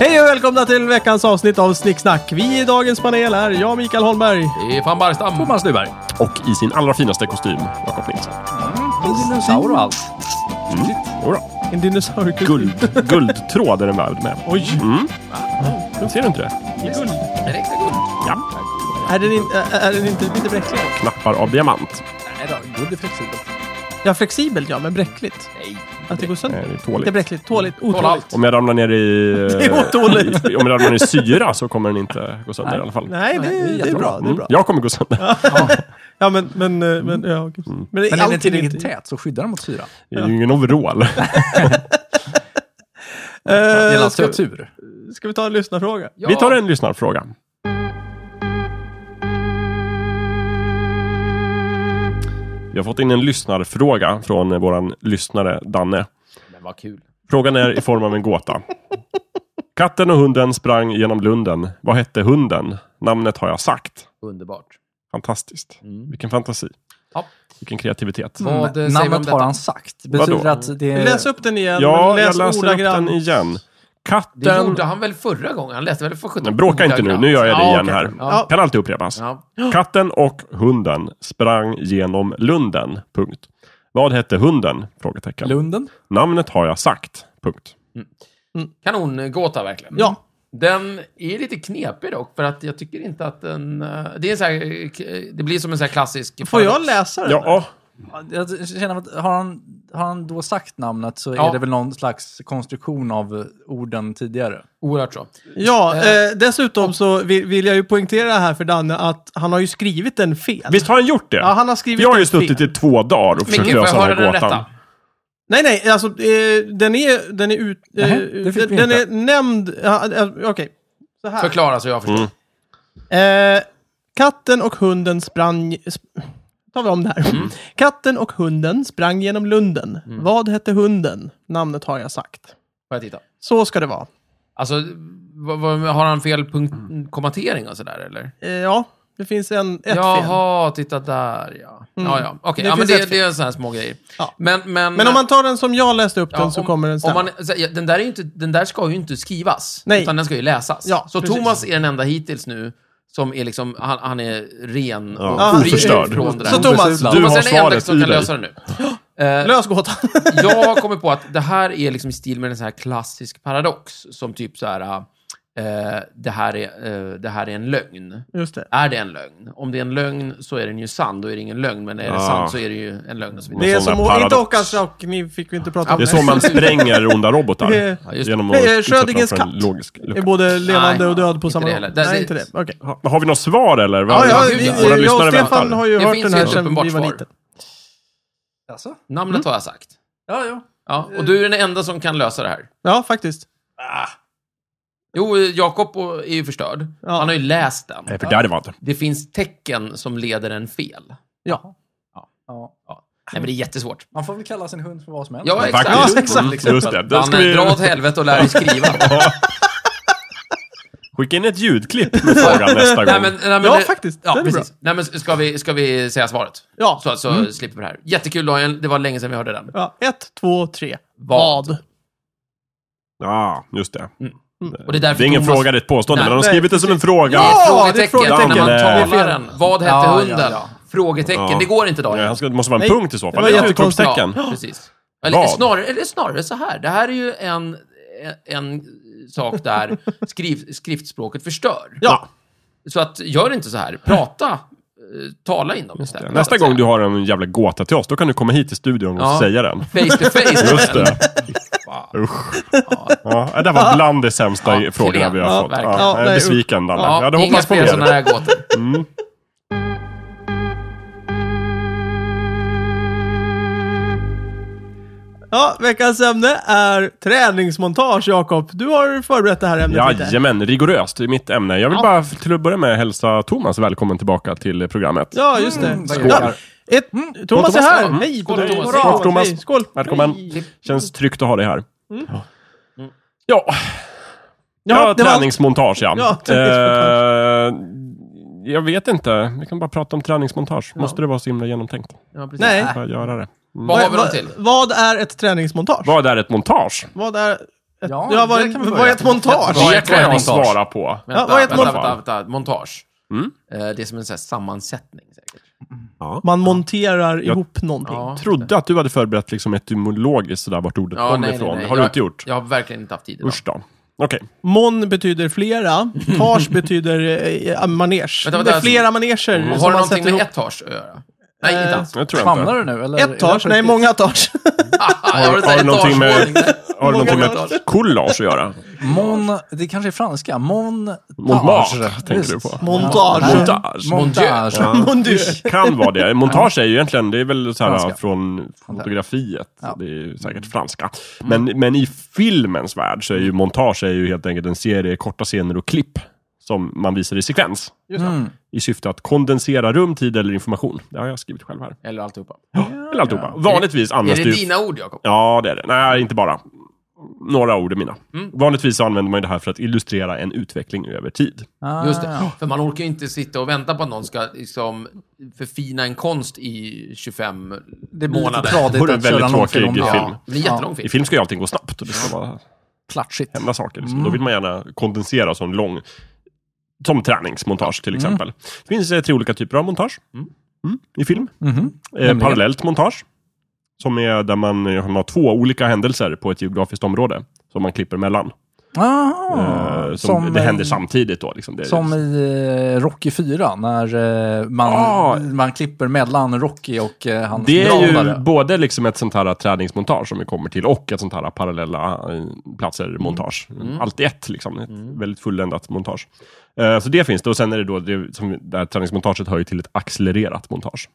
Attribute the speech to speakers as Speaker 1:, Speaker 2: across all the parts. Speaker 1: Hej och välkomna till veckans avsnitt av Snicksnack. Vi i dagens panel är jag, Mikael Holmberg.
Speaker 2: Det är fan Barstam. Thomas Nyberg.
Speaker 3: Och i sin allra finaste kostym, Jakob Nilsson.
Speaker 2: Dinosaur och allt.
Speaker 3: Jodå.
Speaker 1: En dinosauriekultur.
Speaker 3: Guld, guldtråd är den väl med.
Speaker 1: Oj!
Speaker 3: Men Ser du inte det?
Speaker 1: Guld.
Speaker 2: Det räcker guld.
Speaker 3: Ja.
Speaker 1: Är den, in, är- är den inte lite bräcklig?
Speaker 3: Knappar av diamant.
Speaker 2: Nej då, guld är flexibelt.
Speaker 1: Ja, flexibelt ja, men bräckligt.
Speaker 2: Nej.
Speaker 1: Att det går sönder.
Speaker 3: Nej, Eh, det är
Speaker 1: Lite
Speaker 3: tåligt.
Speaker 1: bräckligt. Tåligt. Otåligt.
Speaker 2: allt.
Speaker 3: Om jag ramlar ner i...
Speaker 1: Det är otåligt.
Speaker 3: i- Om jag ramlar ner i syra så kommer den inte gå sönder i alla fall.
Speaker 1: Nej, det, det är bra. Det är
Speaker 3: Mm.
Speaker 1: bra.
Speaker 3: Jag kommer gå sönder.
Speaker 1: Ja, men... Men, eh, men,
Speaker 3: Mm.
Speaker 1: ja, gud. men,
Speaker 4: Men är den tillräckligt
Speaker 1: inte- Eh,
Speaker 4: tät så skyddar den mot syra.
Speaker 3: Det är ju ingen overall.
Speaker 4: Det är
Speaker 1: Eh,
Speaker 4: alltså
Speaker 1: ska,
Speaker 4: tur.
Speaker 1: ska vi ta en lyssnarfråga?
Speaker 2: Ja.
Speaker 3: Vi tar en lyssnarfråga. Vi har fått in en lyssnarfråga från eh, våran lyssnare Danne.
Speaker 2: Men vad kul.
Speaker 3: Frågan är i form av en gåta. Katten och hunden sprang genom lunden. Vad hette hunden? Namnet har jag sagt.
Speaker 2: Underbart.
Speaker 3: Fantastiskt. Vilken fantasi.
Speaker 2: Mm. Ja.
Speaker 3: Vilken kreativitet.
Speaker 2: Vad eh, säger vi om
Speaker 4: Mm. Namnet
Speaker 2: detta?
Speaker 4: har han sagt. Betyder
Speaker 3: Vadå?
Speaker 4: att det är...
Speaker 1: Läs upp den igen,
Speaker 3: Eh, Ja,
Speaker 1: men läs
Speaker 3: jag läser upp
Speaker 1: ordagrant.
Speaker 3: den igen.
Speaker 2: Det
Speaker 3: Katten...
Speaker 2: gjorde han väl förra gången? Han läste väl för sjutton?
Speaker 3: Men bråka inte nu, nu gör jag det
Speaker 2: Ja,
Speaker 3: igen
Speaker 2: okej.
Speaker 3: här.
Speaker 2: Ja.
Speaker 3: Kan alltid upprepas.
Speaker 2: Ja.
Speaker 3: Katten och hunden sprang genom lunden. Punkt. Vad hette hunden? Frågetecken.
Speaker 4: Lunden.
Speaker 3: Namnet har jag sagt. Punkt.
Speaker 2: Kanongåta verkligen.
Speaker 1: Ja.
Speaker 2: Den är lite knepig dock, för att jag tycker inte att den... eh, Det, är en så här, eh, k- det blir som en så här klassisk...
Speaker 1: Får jag läsa den?
Speaker 3: Ja,
Speaker 4: Jag känner att har han, har han då sagt namnet så
Speaker 2: Ja.
Speaker 4: är det väl någon slags konstruktion av orden tidigare.
Speaker 2: Oerhört så.
Speaker 1: Ja, eh, dessutom så vill, vill jag ju poängtera här för Danne att han har ju skrivit den fel.
Speaker 3: visst har han gjort det?
Speaker 1: Ja, han har skrivit
Speaker 3: jag har
Speaker 1: den
Speaker 3: ju suttit
Speaker 1: fel.
Speaker 3: i två dagar och
Speaker 2: Men
Speaker 3: försökt
Speaker 2: gud, får
Speaker 3: lösa
Speaker 2: jag höra
Speaker 3: den här
Speaker 2: den
Speaker 3: gåtan.
Speaker 2: rätta?
Speaker 1: Nej, nej, alltså eh, den är, den är ut... Eh,
Speaker 4: Nähä, det
Speaker 1: den
Speaker 4: fick vi
Speaker 1: den
Speaker 4: inte.
Speaker 1: är nämnd... Ja, eh, Okej, så här.
Speaker 2: Förklara så jag förstår.
Speaker 1: Eh, katten och hunden sprang... Sp- tar vi om det här.
Speaker 2: Mm.
Speaker 1: Katten och hunden sprang genom lunden. Vad hette hunden? Namnet har jag sagt.
Speaker 2: Får jag titta?
Speaker 1: Så ska det vara.
Speaker 2: Alltså, vad, vad, har han fel punkt, kommatering och sådär, eller?
Speaker 1: Eh, ja, det finns en, ett fel.
Speaker 2: Jaha, titta där ja. Ja, ja. Okej,
Speaker 1: Mm. Det
Speaker 2: ja, men
Speaker 1: finns
Speaker 2: det,
Speaker 1: ett
Speaker 2: det är sådana här små grejer.
Speaker 1: Ja.
Speaker 2: Men, men,
Speaker 1: Men om man tar den som jag läste upp
Speaker 2: ja,
Speaker 1: den så
Speaker 2: om-
Speaker 1: kommer den
Speaker 2: om
Speaker 1: stämma.
Speaker 2: man, så- ja, den, där är ju inte, den där ska ju inte skrivas,
Speaker 1: Nej.
Speaker 2: utan den ska ju läsas.
Speaker 1: Ja,
Speaker 2: så
Speaker 1: precis.
Speaker 2: Thomas är den enda hittills nu som är liksom, han, han är ren och
Speaker 3: Ja,
Speaker 2: fri
Speaker 3: oförstörd.
Speaker 2: från det där.
Speaker 1: Så Thomas,
Speaker 3: Du
Speaker 2: Thomas
Speaker 3: har
Speaker 2: är den enda
Speaker 3: svaret
Speaker 2: som
Speaker 3: i
Speaker 2: kan
Speaker 3: dig.
Speaker 2: lösa det nu. Eh,
Speaker 1: Lös gåtan.
Speaker 2: jag har kommit på att det här är liksom i stil med en sån här klassisk paradox, som typ så här, eh, det, här är, eh, det här är en lögn.
Speaker 1: Just det.
Speaker 2: Är det en lögn? Om det är en lögn så är den ju sann, då är det ingen lögn. Men är det
Speaker 3: Ah.
Speaker 2: sant så är det ju en lögn och så vidare.
Speaker 1: Det är
Speaker 3: sån där
Speaker 1: som, inte
Speaker 3: paradox.
Speaker 1: Håkan Strauk, ni fick vi inte prata om.
Speaker 3: Det är så man spränger onda robotar.
Speaker 1: Det-
Speaker 2: Ja, just det.
Speaker 3: genom
Speaker 1: Det är
Speaker 3: att utsätta dem
Speaker 1: Schrödingers
Speaker 3: för en
Speaker 1: katt.
Speaker 3: logisk
Speaker 1: är
Speaker 3: lucka.
Speaker 1: både levande
Speaker 2: Nej,
Speaker 1: och död på
Speaker 2: inte
Speaker 1: samma
Speaker 2: det
Speaker 1: gång.
Speaker 2: heller. Det-
Speaker 1: Nej,
Speaker 2: det-
Speaker 1: inte det. Okej.
Speaker 3: Ha- Har vi något svar eller?
Speaker 1: Ja, ja,
Speaker 2: gud,
Speaker 1: vi,
Speaker 2: ja.
Speaker 3: Våra
Speaker 1: jag och
Speaker 3: lyssnare
Speaker 1: Stefan
Speaker 3: väntar.
Speaker 1: har ju
Speaker 2: Det
Speaker 1: hört
Speaker 2: finns
Speaker 1: den
Speaker 2: ju
Speaker 1: här
Speaker 2: ett
Speaker 1: sedan vi
Speaker 2: uppenbart
Speaker 1: var
Speaker 2: svar.
Speaker 1: liten.
Speaker 4: Alltså?
Speaker 2: Namnet har jag sagt.
Speaker 4: Ja, ja.
Speaker 2: Ja, och du är den enda som kan lösa det här.
Speaker 1: Ja, faktiskt.
Speaker 2: Jo, eh, Jakob och- är ju förstörd.
Speaker 1: Ja.
Speaker 2: Han har ju läst den.
Speaker 3: Nej, för där var det.
Speaker 2: Det finns tecken som leder en fel.
Speaker 1: Ja.
Speaker 4: ja.
Speaker 2: Ja. Nej, men det är jättesvårt.
Speaker 4: Man får väl kalla sin hund för vad som helst.
Speaker 2: Ja, exakt.
Speaker 3: Faktiskt.
Speaker 1: Ja, exakt.
Speaker 3: Mm, Just det. Den
Speaker 2: Danne,
Speaker 3: ska vi...
Speaker 2: dra åt helvete och lär dig skriva.
Speaker 3: Skicka in ett ljudklipp med frågan nästa
Speaker 2: nej,
Speaker 3: gång.
Speaker 2: men, nej, men,
Speaker 1: Ja,
Speaker 2: det-
Speaker 1: faktiskt.
Speaker 2: Ja,
Speaker 1: Den är
Speaker 2: precis. Nej, men ska, vi, ska vi säga svaret?
Speaker 1: Ja.
Speaker 2: Så, så slipper vi det här. Jättekul, Daniel. Det var länge sedan vi hörde den.
Speaker 1: ja. Ett, två, tre.
Speaker 2: Vad?
Speaker 1: Vad?
Speaker 3: Ja, just det.
Speaker 2: Och det är därför
Speaker 3: Det är ingen
Speaker 2: Thomas...
Speaker 3: fråga, det är ett påstående.
Speaker 2: Nej,
Speaker 3: Men de har
Speaker 1: nej,
Speaker 3: skrivit det som en fråga.
Speaker 1: Ja, eh, det är
Speaker 2: Frågetecken
Speaker 1: frågetecken.
Speaker 2: när man
Speaker 3: Danne.
Speaker 2: talar den. Vad hette
Speaker 4: Ja, ja,
Speaker 2: hunden?
Speaker 4: ja.
Speaker 2: Frågetecken.
Speaker 3: Ja.
Speaker 2: Det går inte, Daniel.
Speaker 3: Nej, han ska, det måste vara en
Speaker 1: Nej,
Speaker 3: punkt i så
Speaker 1: det var
Speaker 3: fall. Ett
Speaker 1: jättekonstigt.
Speaker 3: utropstecken.
Speaker 2: Ja, precis. Eller
Speaker 3: Vad?
Speaker 2: snarare, eller snarare så här. Det här är ju en, en sak där skriv, skriftspråket förstör.
Speaker 1: Ja.
Speaker 2: Så att, gör inte så här. Prata. eh, Tala in dem istället.
Speaker 3: Nästa gång du har en jävla gåta till oss, då kan du komma hit till studion och
Speaker 2: Ja.
Speaker 3: säga den.
Speaker 2: Face to face.
Speaker 3: Just det. Usch. Ja, det där var bland de sämsta
Speaker 2: Ja,
Speaker 3: frågorna vi
Speaker 2: ja,
Speaker 3: har fått.
Speaker 2: verkligen.
Speaker 3: Ja, jag
Speaker 1: Ja,
Speaker 3: är
Speaker 1: nej,
Speaker 3: besviken, Danne.
Speaker 2: Ja,
Speaker 3: Jag hade
Speaker 2: inga
Speaker 3: hoppats på
Speaker 2: fler sådana
Speaker 3: mer.
Speaker 2: här gåtor.
Speaker 1: Ja, veckans ämne är träningsmontage, Jakob. Du har förberett det här ämnet lite.
Speaker 3: Jajamän, rigoröst. Det är mitt ämne. Jag vill bara till att börja med hälsa Thomas välkommen tillbaka till programmet.
Speaker 1: Ja, just det.
Speaker 4: Mm, vad
Speaker 1: ja,
Speaker 4: gör
Speaker 1: ett, Thomas är här.
Speaker 3: Mm.
Speaker 1: Hej på
Speaker 2: Skål,
Speaker 1: dig.
Speaker 2: Thomas.
Speaker 1: Hurra.
Speaker 3: Skål, Thomas.
Speaker 1: Hej, Skål.
Speaker 3: Välkommen. Känns tryggt att ha dig här. Ja, ja,
Speaker 1: det var allt.
Speaker 3: träningsmontage ja.
Speaker 1: Ja, träningsmontage.
Speaker 3: Eh, jag vet inte. Vi kan bara prata om träningsmontage. Måste det vara så himla genomtänkt?
Speaker 2: Ja, precis.
Speaker 1: Nej.
Speaker 3: Bara göra det. Mm.
Speaker 2: Vad har vi dem till?
Speaker 1: Vad är ett träningsmontage?
Speaker 3: Vad är ett montage?
Speaker 1: Vad är...
Speaker 4: Ja,
Speaker 1: Ja, var,
Speaker 4: där kan vi
Speaker 1: var
Speaker 4: börja.
Speaker 1: ett montage?
Speaker 2: Vad är
Speaker 3: Det kan jag
Speaker 2: träningsfas?
Speaker 3: svara på.
Speaker 2: Vänta,
Speaker 1: vad är ett
Speaker 2: vänta,
Speaker 3: montage?
Speaker 2: vänta, vänta, montage.
Speaker 3: Mm.
Speaker 2: Eh, Det är som en sån här sammansättning säkert.
Speaker 1: Man monterar ihop någonting.
Speaker 2: Ja.
Speaker 3: Trodde att du hade förberett liksom etymologiskt sådär vart ordet
Speaker 2: Ja,
Speaker 3: kom
Speaker 2: nej, nej,
Speaker 3: ifrån.
Speaker 2: nej.
Speaker 3: Har du
Speaker 2: Jag-
Speaker 3: inte gjort?
Speaker 2: Jag har verkligen inte haft tid idag.
Speaker 3: Usch då. Okej.
Speaker 1: Mon betyder flera, tage betyder eh, manege.
Speaker 2: Vänta, vänta,
Speaker 1: det är
Speaker 2: alltså-
Speaker 1: flera maneger
Speaker 2: Har
Speaker 1: som
Speaker 2: det
Speaker 1: man
Speaker 2: någonting
Speaker 1: sätter
Speaker 2: med
Speaker 1: ihop.
Speaker 2: etage att göra? Nej,
Speaker 1: Eh,
Speaker 2: inte alls.
Speaker 3: Jag tror jag
Speaker 4: Famlar
Speaker 3: inte.
Speaker 4: du nu? Eller?
Speaker 1: Ett tage? Nej, många tage.
Speaker 2: Har,
Speaker 3: har det någonting med- Har det någonting
Speaker 2: Många
Speaker 3: med collage att göra?
Speaker 4: Mon, det kanske är franska. Mon...
Speaker 3: Montage tänker du på.
Speaker 1: Montage.
Speaker 3: Montage.
Speaker 4: Montage.
Speaker 3: Ja.
Speaker 1: Mon Dieu.
Speaker 3: Kan vara det. Montage är ju egentligen, det är väl så här
Speaker 4: Franska.
Speaker 3: från fotografiet.
Speaker 4: Ja.
Speaker 3: Det är ju säkert franska.
Speaker 2: Mm.
Speaker 3: Men, men i filmens värld så är ju montage är ju helt enkelt en serie korta scener och klipp som man visar i sekvens.
Speaker 4: Mm.
Speaker 3: I syfte att kondensera rum, tid eller information. Det har jag skrivit själv här.
Speaker 2: Eller alltihopa.
Speaker 3: Eller alltihopa. Vanligtvis
Speaker 2: Är
Speaker 3: används
Speaker 2: det
Speaker 3: ju-
Speaker 2: dina ord, Jakob?
Speaker 3: Ja, det är det. Nej, inte bara. Några ord är mina. Vanligtvis så använder man ju det här för att illustrera en utveckling över tid.
Speaker 4: Ah,
Speaker 2: Just det. För man orkar ju inte sitta och vänta på att någon ska liksom förfina en konst i 25
Speaker 4: Det blir lite
Speaker 2: månader.
Speaker 3: Det vore
Speaker 4: tradigt
Speaker 3: en
Speaker 4: att köra
Speaker 3: väldigt
Speaker 4: någon
Speaker 3: tråkig
Speaker 4: film.
Speaker 3: film.
Speaker 2: Ja, det blir en jättelång
Speaker 3: I
Speaker 2: film.
Speaker 3: film ska ju allting gå snabbt och det ska vara
Speaker 4: Klatschigt.
Speaker 3: hända saker. Liksom. Då vill man gärna kondensera som lång... Som träningsmontage till exempel. Det finns eh, tre olika typer av montage Mm, i film.
Speaker 4: Mhm.
Speaker 3: Eh, parallellt montage. Som är där man eh, har två olika händelser på ett geografiskt område. Som man klipper mellan.
Speaker 4: Ah,
Speaker 3: Eh, som, det
Speaker 4: eh,
Speaker 3: händer samtidigt då. Liksom. Det,
Speaker 4: Som i eh, Rocky 4, när eh, man,
Speaker 3: Ah.
Speaker 4: man klipper mellan Rocky och eh, hans
Speaker 3: Det är ju
Speaker 4: drönare.
Speaker 3: både liksom ett sånt här träningsmontage som vi kommer till och ett sånt här parallella eh, platser-montage. Allt i ett, liksom. Ett väldigt fulländat montage. Eh, Så det finns det. Och sen är det då, det, som, det här träningsmontaget hör ju till ett accelererat montage.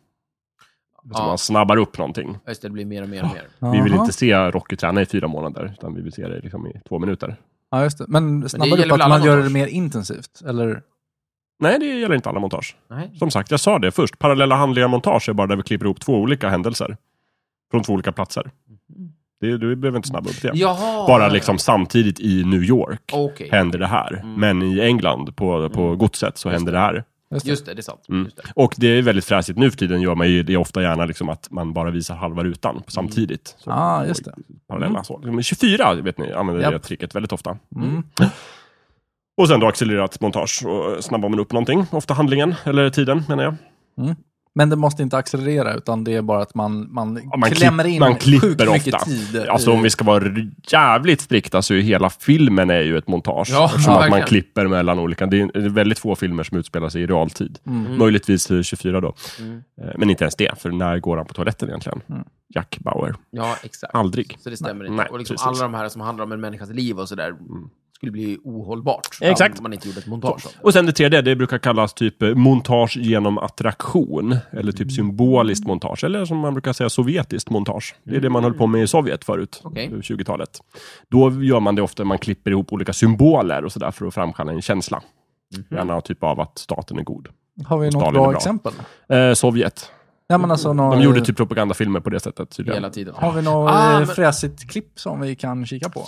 Speaker 3: Så
Speaker 2: Ja.
Speaker 3: man snabbar upp någonting.
Speaker 2: Just det, det blir mer och mer och mer.
Speaker 3: Vi vill
Speaker 4: Aha.
Speaker 3: inte se Rocky träna i fyra månader, utan vi vill se det liksom i två minuter.
Speaker 4: Ja, just det. Men snabbare
Speaker 2: gäller
Speaker 4: upp
Speaker 2: väl
Speaker 4: att
Speaker 2: alla
Speaker 4: man gör det
Speaker 2: montage?
Speaker 4: mer intensivt? Eller?
Speaker 3: Nej, det gäller inte alla montage.
Speaker 2: Nej.
Speaker 3: Som sagt, jag sa det först. Parallella handlingar montage är bara där vi klipper ihop två olika händelser. Från två olika platser. Det, du behöver inte snabba upp det.
Speaker 2: Jaha!
Speaker 4: Ah.
Speaker 3: Bara liksom samtidigt i New York
Speaker 2: Okej.
Speaker 3: händer det här.
Speaker 4: Mm.
Speaker 3: Men i England på, på godset så händer det här.
Speaker 2: Just det, det är sant.
Speaker 3: Mm.
Speaker 2: Just det.
Speaker 3: Och det är väldigt fräsigt nu för tiden gör man ju det ofta gärna liksom att man bara visar halva rutan samtidigt. Så,
Speaker 4: Mm. Ah, just det.
Speaker 3: Parallella så. Men 24 vet ni använder det
Speaker 4: Japp.
Speaker 3: tricket väldigt ofta.
Speaker 4: Mm.
Speaker 3: Och sen då accelererat montage och snabbar man upp någonting. Ofta handlingen, eller tiden menar jag.
Speaker 4: Men det måste inte accelerera, utan det är bara att man, man,
Speaker 3: Ja, man
Speaker 4: klämmer
Speaker 3: klipp-
Speaker 4: in
Speaker 3: man klipper
Speaker 4: sjukt mycket
Speaker 3: ofta.
Speaker 4: tid. i-
Speaker 3: Alltså om vi ska vara r- jävligt strikta så är ju hela filmen är ju ett montage.
Speaker 2: Ja,
Speaker 3: eftersom
Speaker 2: ja,
Speaker 3: att man
Speaker 2: verkligen.
Speaker 3: klipper mellan olika. Det är det är väldigt få filmer som utspelar sig i realtid.
Speaker 4: Mm.
Speaker 3: Möjligtvis eh, 24 då. Eh, Men inte ens det, för när går han på toaletten egentligen?
Speaker 4: Mm.
Speaker 3: Jack Bauer.
Speaker 2: Ja, exakt.
Speaker 3: Aldrig.
Speaker 2: Så det stämmer
Speaker 3: Nej,
Speaker 2: inte.
Speaker 3: nej,
Speaker 2: och liksom
Speaker 3: precis. Mm.
Speaker 2: alla de här som handlar om en människas liv och sådär skulle bli ohållbart
Speaker 3: Exakt.
Speaker 2: om man inte gjorde ett montage av det.
Speaker 3: Och sen det tredje, det brukar kallas typ eh, montage genom attraktion. Eller
Speaker 2: Mm.
Speaker 3: typ symboliskt montage. Eller som man brukar säga, sovjetiskt montage. Det är det man höll på med i Sovjet förut,
Speaker 2: Okej.
Speaker 3: 20-talet. Då gör man det ofta, man klipper ihop olika symboler och sådär för att framkalla en känsla.
Speaker 2: Mhm.
Speaker 3: Gärna typ av att staten är god.
Speaker 4: Har vi
Speaker 3: Stalin är
Speaker 4: något bra
Speaker 3: bra.
Speaker 4: exempel?
Speaker 3: Eh, Sovjet.
Speaker 4: Ja, men alltså, någon,
Speaker 3: De gjorde typ propagandafilmer på det sättet. tydligen.
Speaker 2: Hela tiden.
Speaker 4: Har vi något
Speaker 2: Ah,
Speaker 4: ah,
Speaker 2: men-
Speaker 4: fräsigt klipp som vi kan kika på?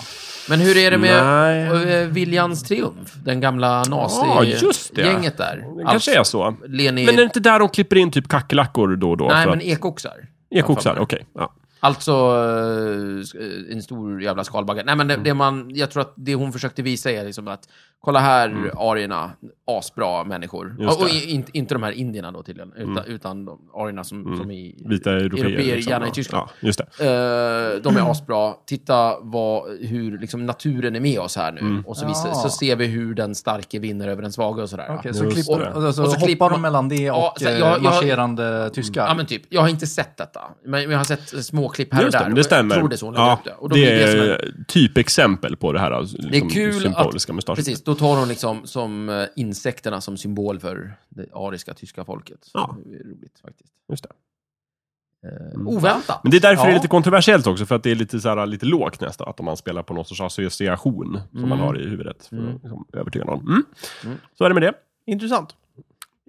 Speaker 2: Men hur är det med
Speaker 3: Nej.
Speaker 2: eh, Viljans triumf? Den gamla
Speaker 3: Ja, just det.
Speaker 2: nazi-gänget där. Alltså,
Speaker 3: Det kanske är så.
Speaker 2: Leni...
Speaker 3: Men är det inte där de klipper in typ kackerlackor då och då?
Speaker 2: Nej,
Speaker 3: för
Speaker 2: men
Speaker 3: att-
Speaker 2: ekoxar.
Speaker 3: Ekoxar, okej. Ja.
Speaker 2: Alltså eh, sk- eh, en stor jävla skalbagge. Nej,
Speaker 3: Mm.
Speaker 2: men det, det man, jag tror att det hon försökte visa är liksom att kolla här arierna, asbra människor.
Speaker 3: Mm. Just
Speaker 2: Och, och
Speaker 3: det. Mm.
Speaker 2: i- inte- inte de här indierna då tydligen, utan, utan de arierna som, som i...
Speaker 3: Vita européer.
Speaker 2: Européer,
Speaker 3: liksom.
Speaker 2: gärna i
Speaker 3: Ja.
Speaker 2: Tyskland.
Speaker 3: Ja, just det.
Speaker 2: Eh, de är asbra. Titta vad, hur liksom, naturen är med oss här nu.
Speaker 3: Mm.
Speaker 2: Och så, visar,
Speaker 4: Ja.
Speaker 2: så ser vi hur den starke vinner över den svaga och sådär.
Speaker 4: Okej,
Speaker 2: ja.
Speaker 4: så
Speaker 3: Just
Speaker 4: klipper,
Speaker 3: det.
Speaker 4: och, alltså,
Speaker 2: Och så
Speaker 4: hoppar
Speaker 2: klipper man-
Speaker 4: de mellan det och
Speaker 2: Ja, så
Speaker 4: eh,
Speaker 2: jag- jag-
Speaker 4: marscherande tyskar?
Speaker 2: Ja, men typ. Jag har inte sett detta. Men men jag har sett eh, små klipp här och
Speaker 3: Just
Speaker 2: där.
Speaker 3: det,
Speaker 2: Och
Speaker 3: det stämmer.
Speaker 2: Jag tror det är så hon lägger
Speaker 3: ja,
Speaker 2: upp det. Och då
Speaker 3: det
Speaker 2: blir det som en-
Speaker 3: är typexempel på det här alltså,
Speaker 2: Det är
Speaker 3: liksom,
Speaker 2: kul
Speaker 3: symboliska
Speaker 2: att,
Speaker 3: mustaschen.
Speaker 2: precis, då tar hon liksom som eh, insekterna som symbol för det ariska tyska folket.
Speaker 3: Ja.
Speaker 2: Det är roligt faktiskt.
Speaker 3: Just det.
Speaker 2: Eh, Oväntat.
Speaker 3: Men det är därför det är
Speaker 4: Ja.
Speaker 3: lite kontroversiellt också, för att det är lite, så här, lite lågt nästan, att man spelar på någon sorts association som
Speaker 2: Mm.
Speaker 3: man har i huvudet. För att liksom, övertyga någon. Mm. Så är det med det.
Speaker 1: Intressant.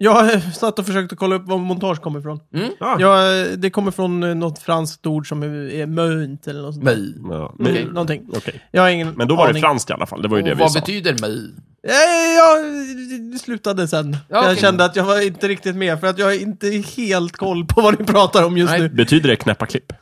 Speaker 1: Jag eh, satt och försökte kolla upp var montage kommer ifrån.
Speaker 2: Mm.
Speaker 3: Ah.
Speaker 1: Jag, eh, det kommer från eh, något franskt ord som är är mönt eller något sånt. där.
Speaker 2: mig.
Speaker 3: Ja, men,
Speaker 1: Någonting. någonting.
Speaker 3: okej.
Speaker 1: Jag har ingen
Speaker 3: Men då var
Speaker 1: aning.
Speaker 3: det franskt i alla fall, det var ju det
Speaker 2: Och
Speaker 3: vi
Speaker 2: vad
Speaker 3: sa.
Speaker 2: betyder mig?
Speaker 1: Nej, jag det slutade sen.
Speaker 2: Ja,
Speaker 1: jag
Speaker 2: okej.
Speaker 1: kände att jag var inte riktigt med, för att jag har inte helt koll på vad ni pratar om just
Speaker 2: Nej.
Speaker 1: nu.
Speaker 3: Betyder det knäppa klipp?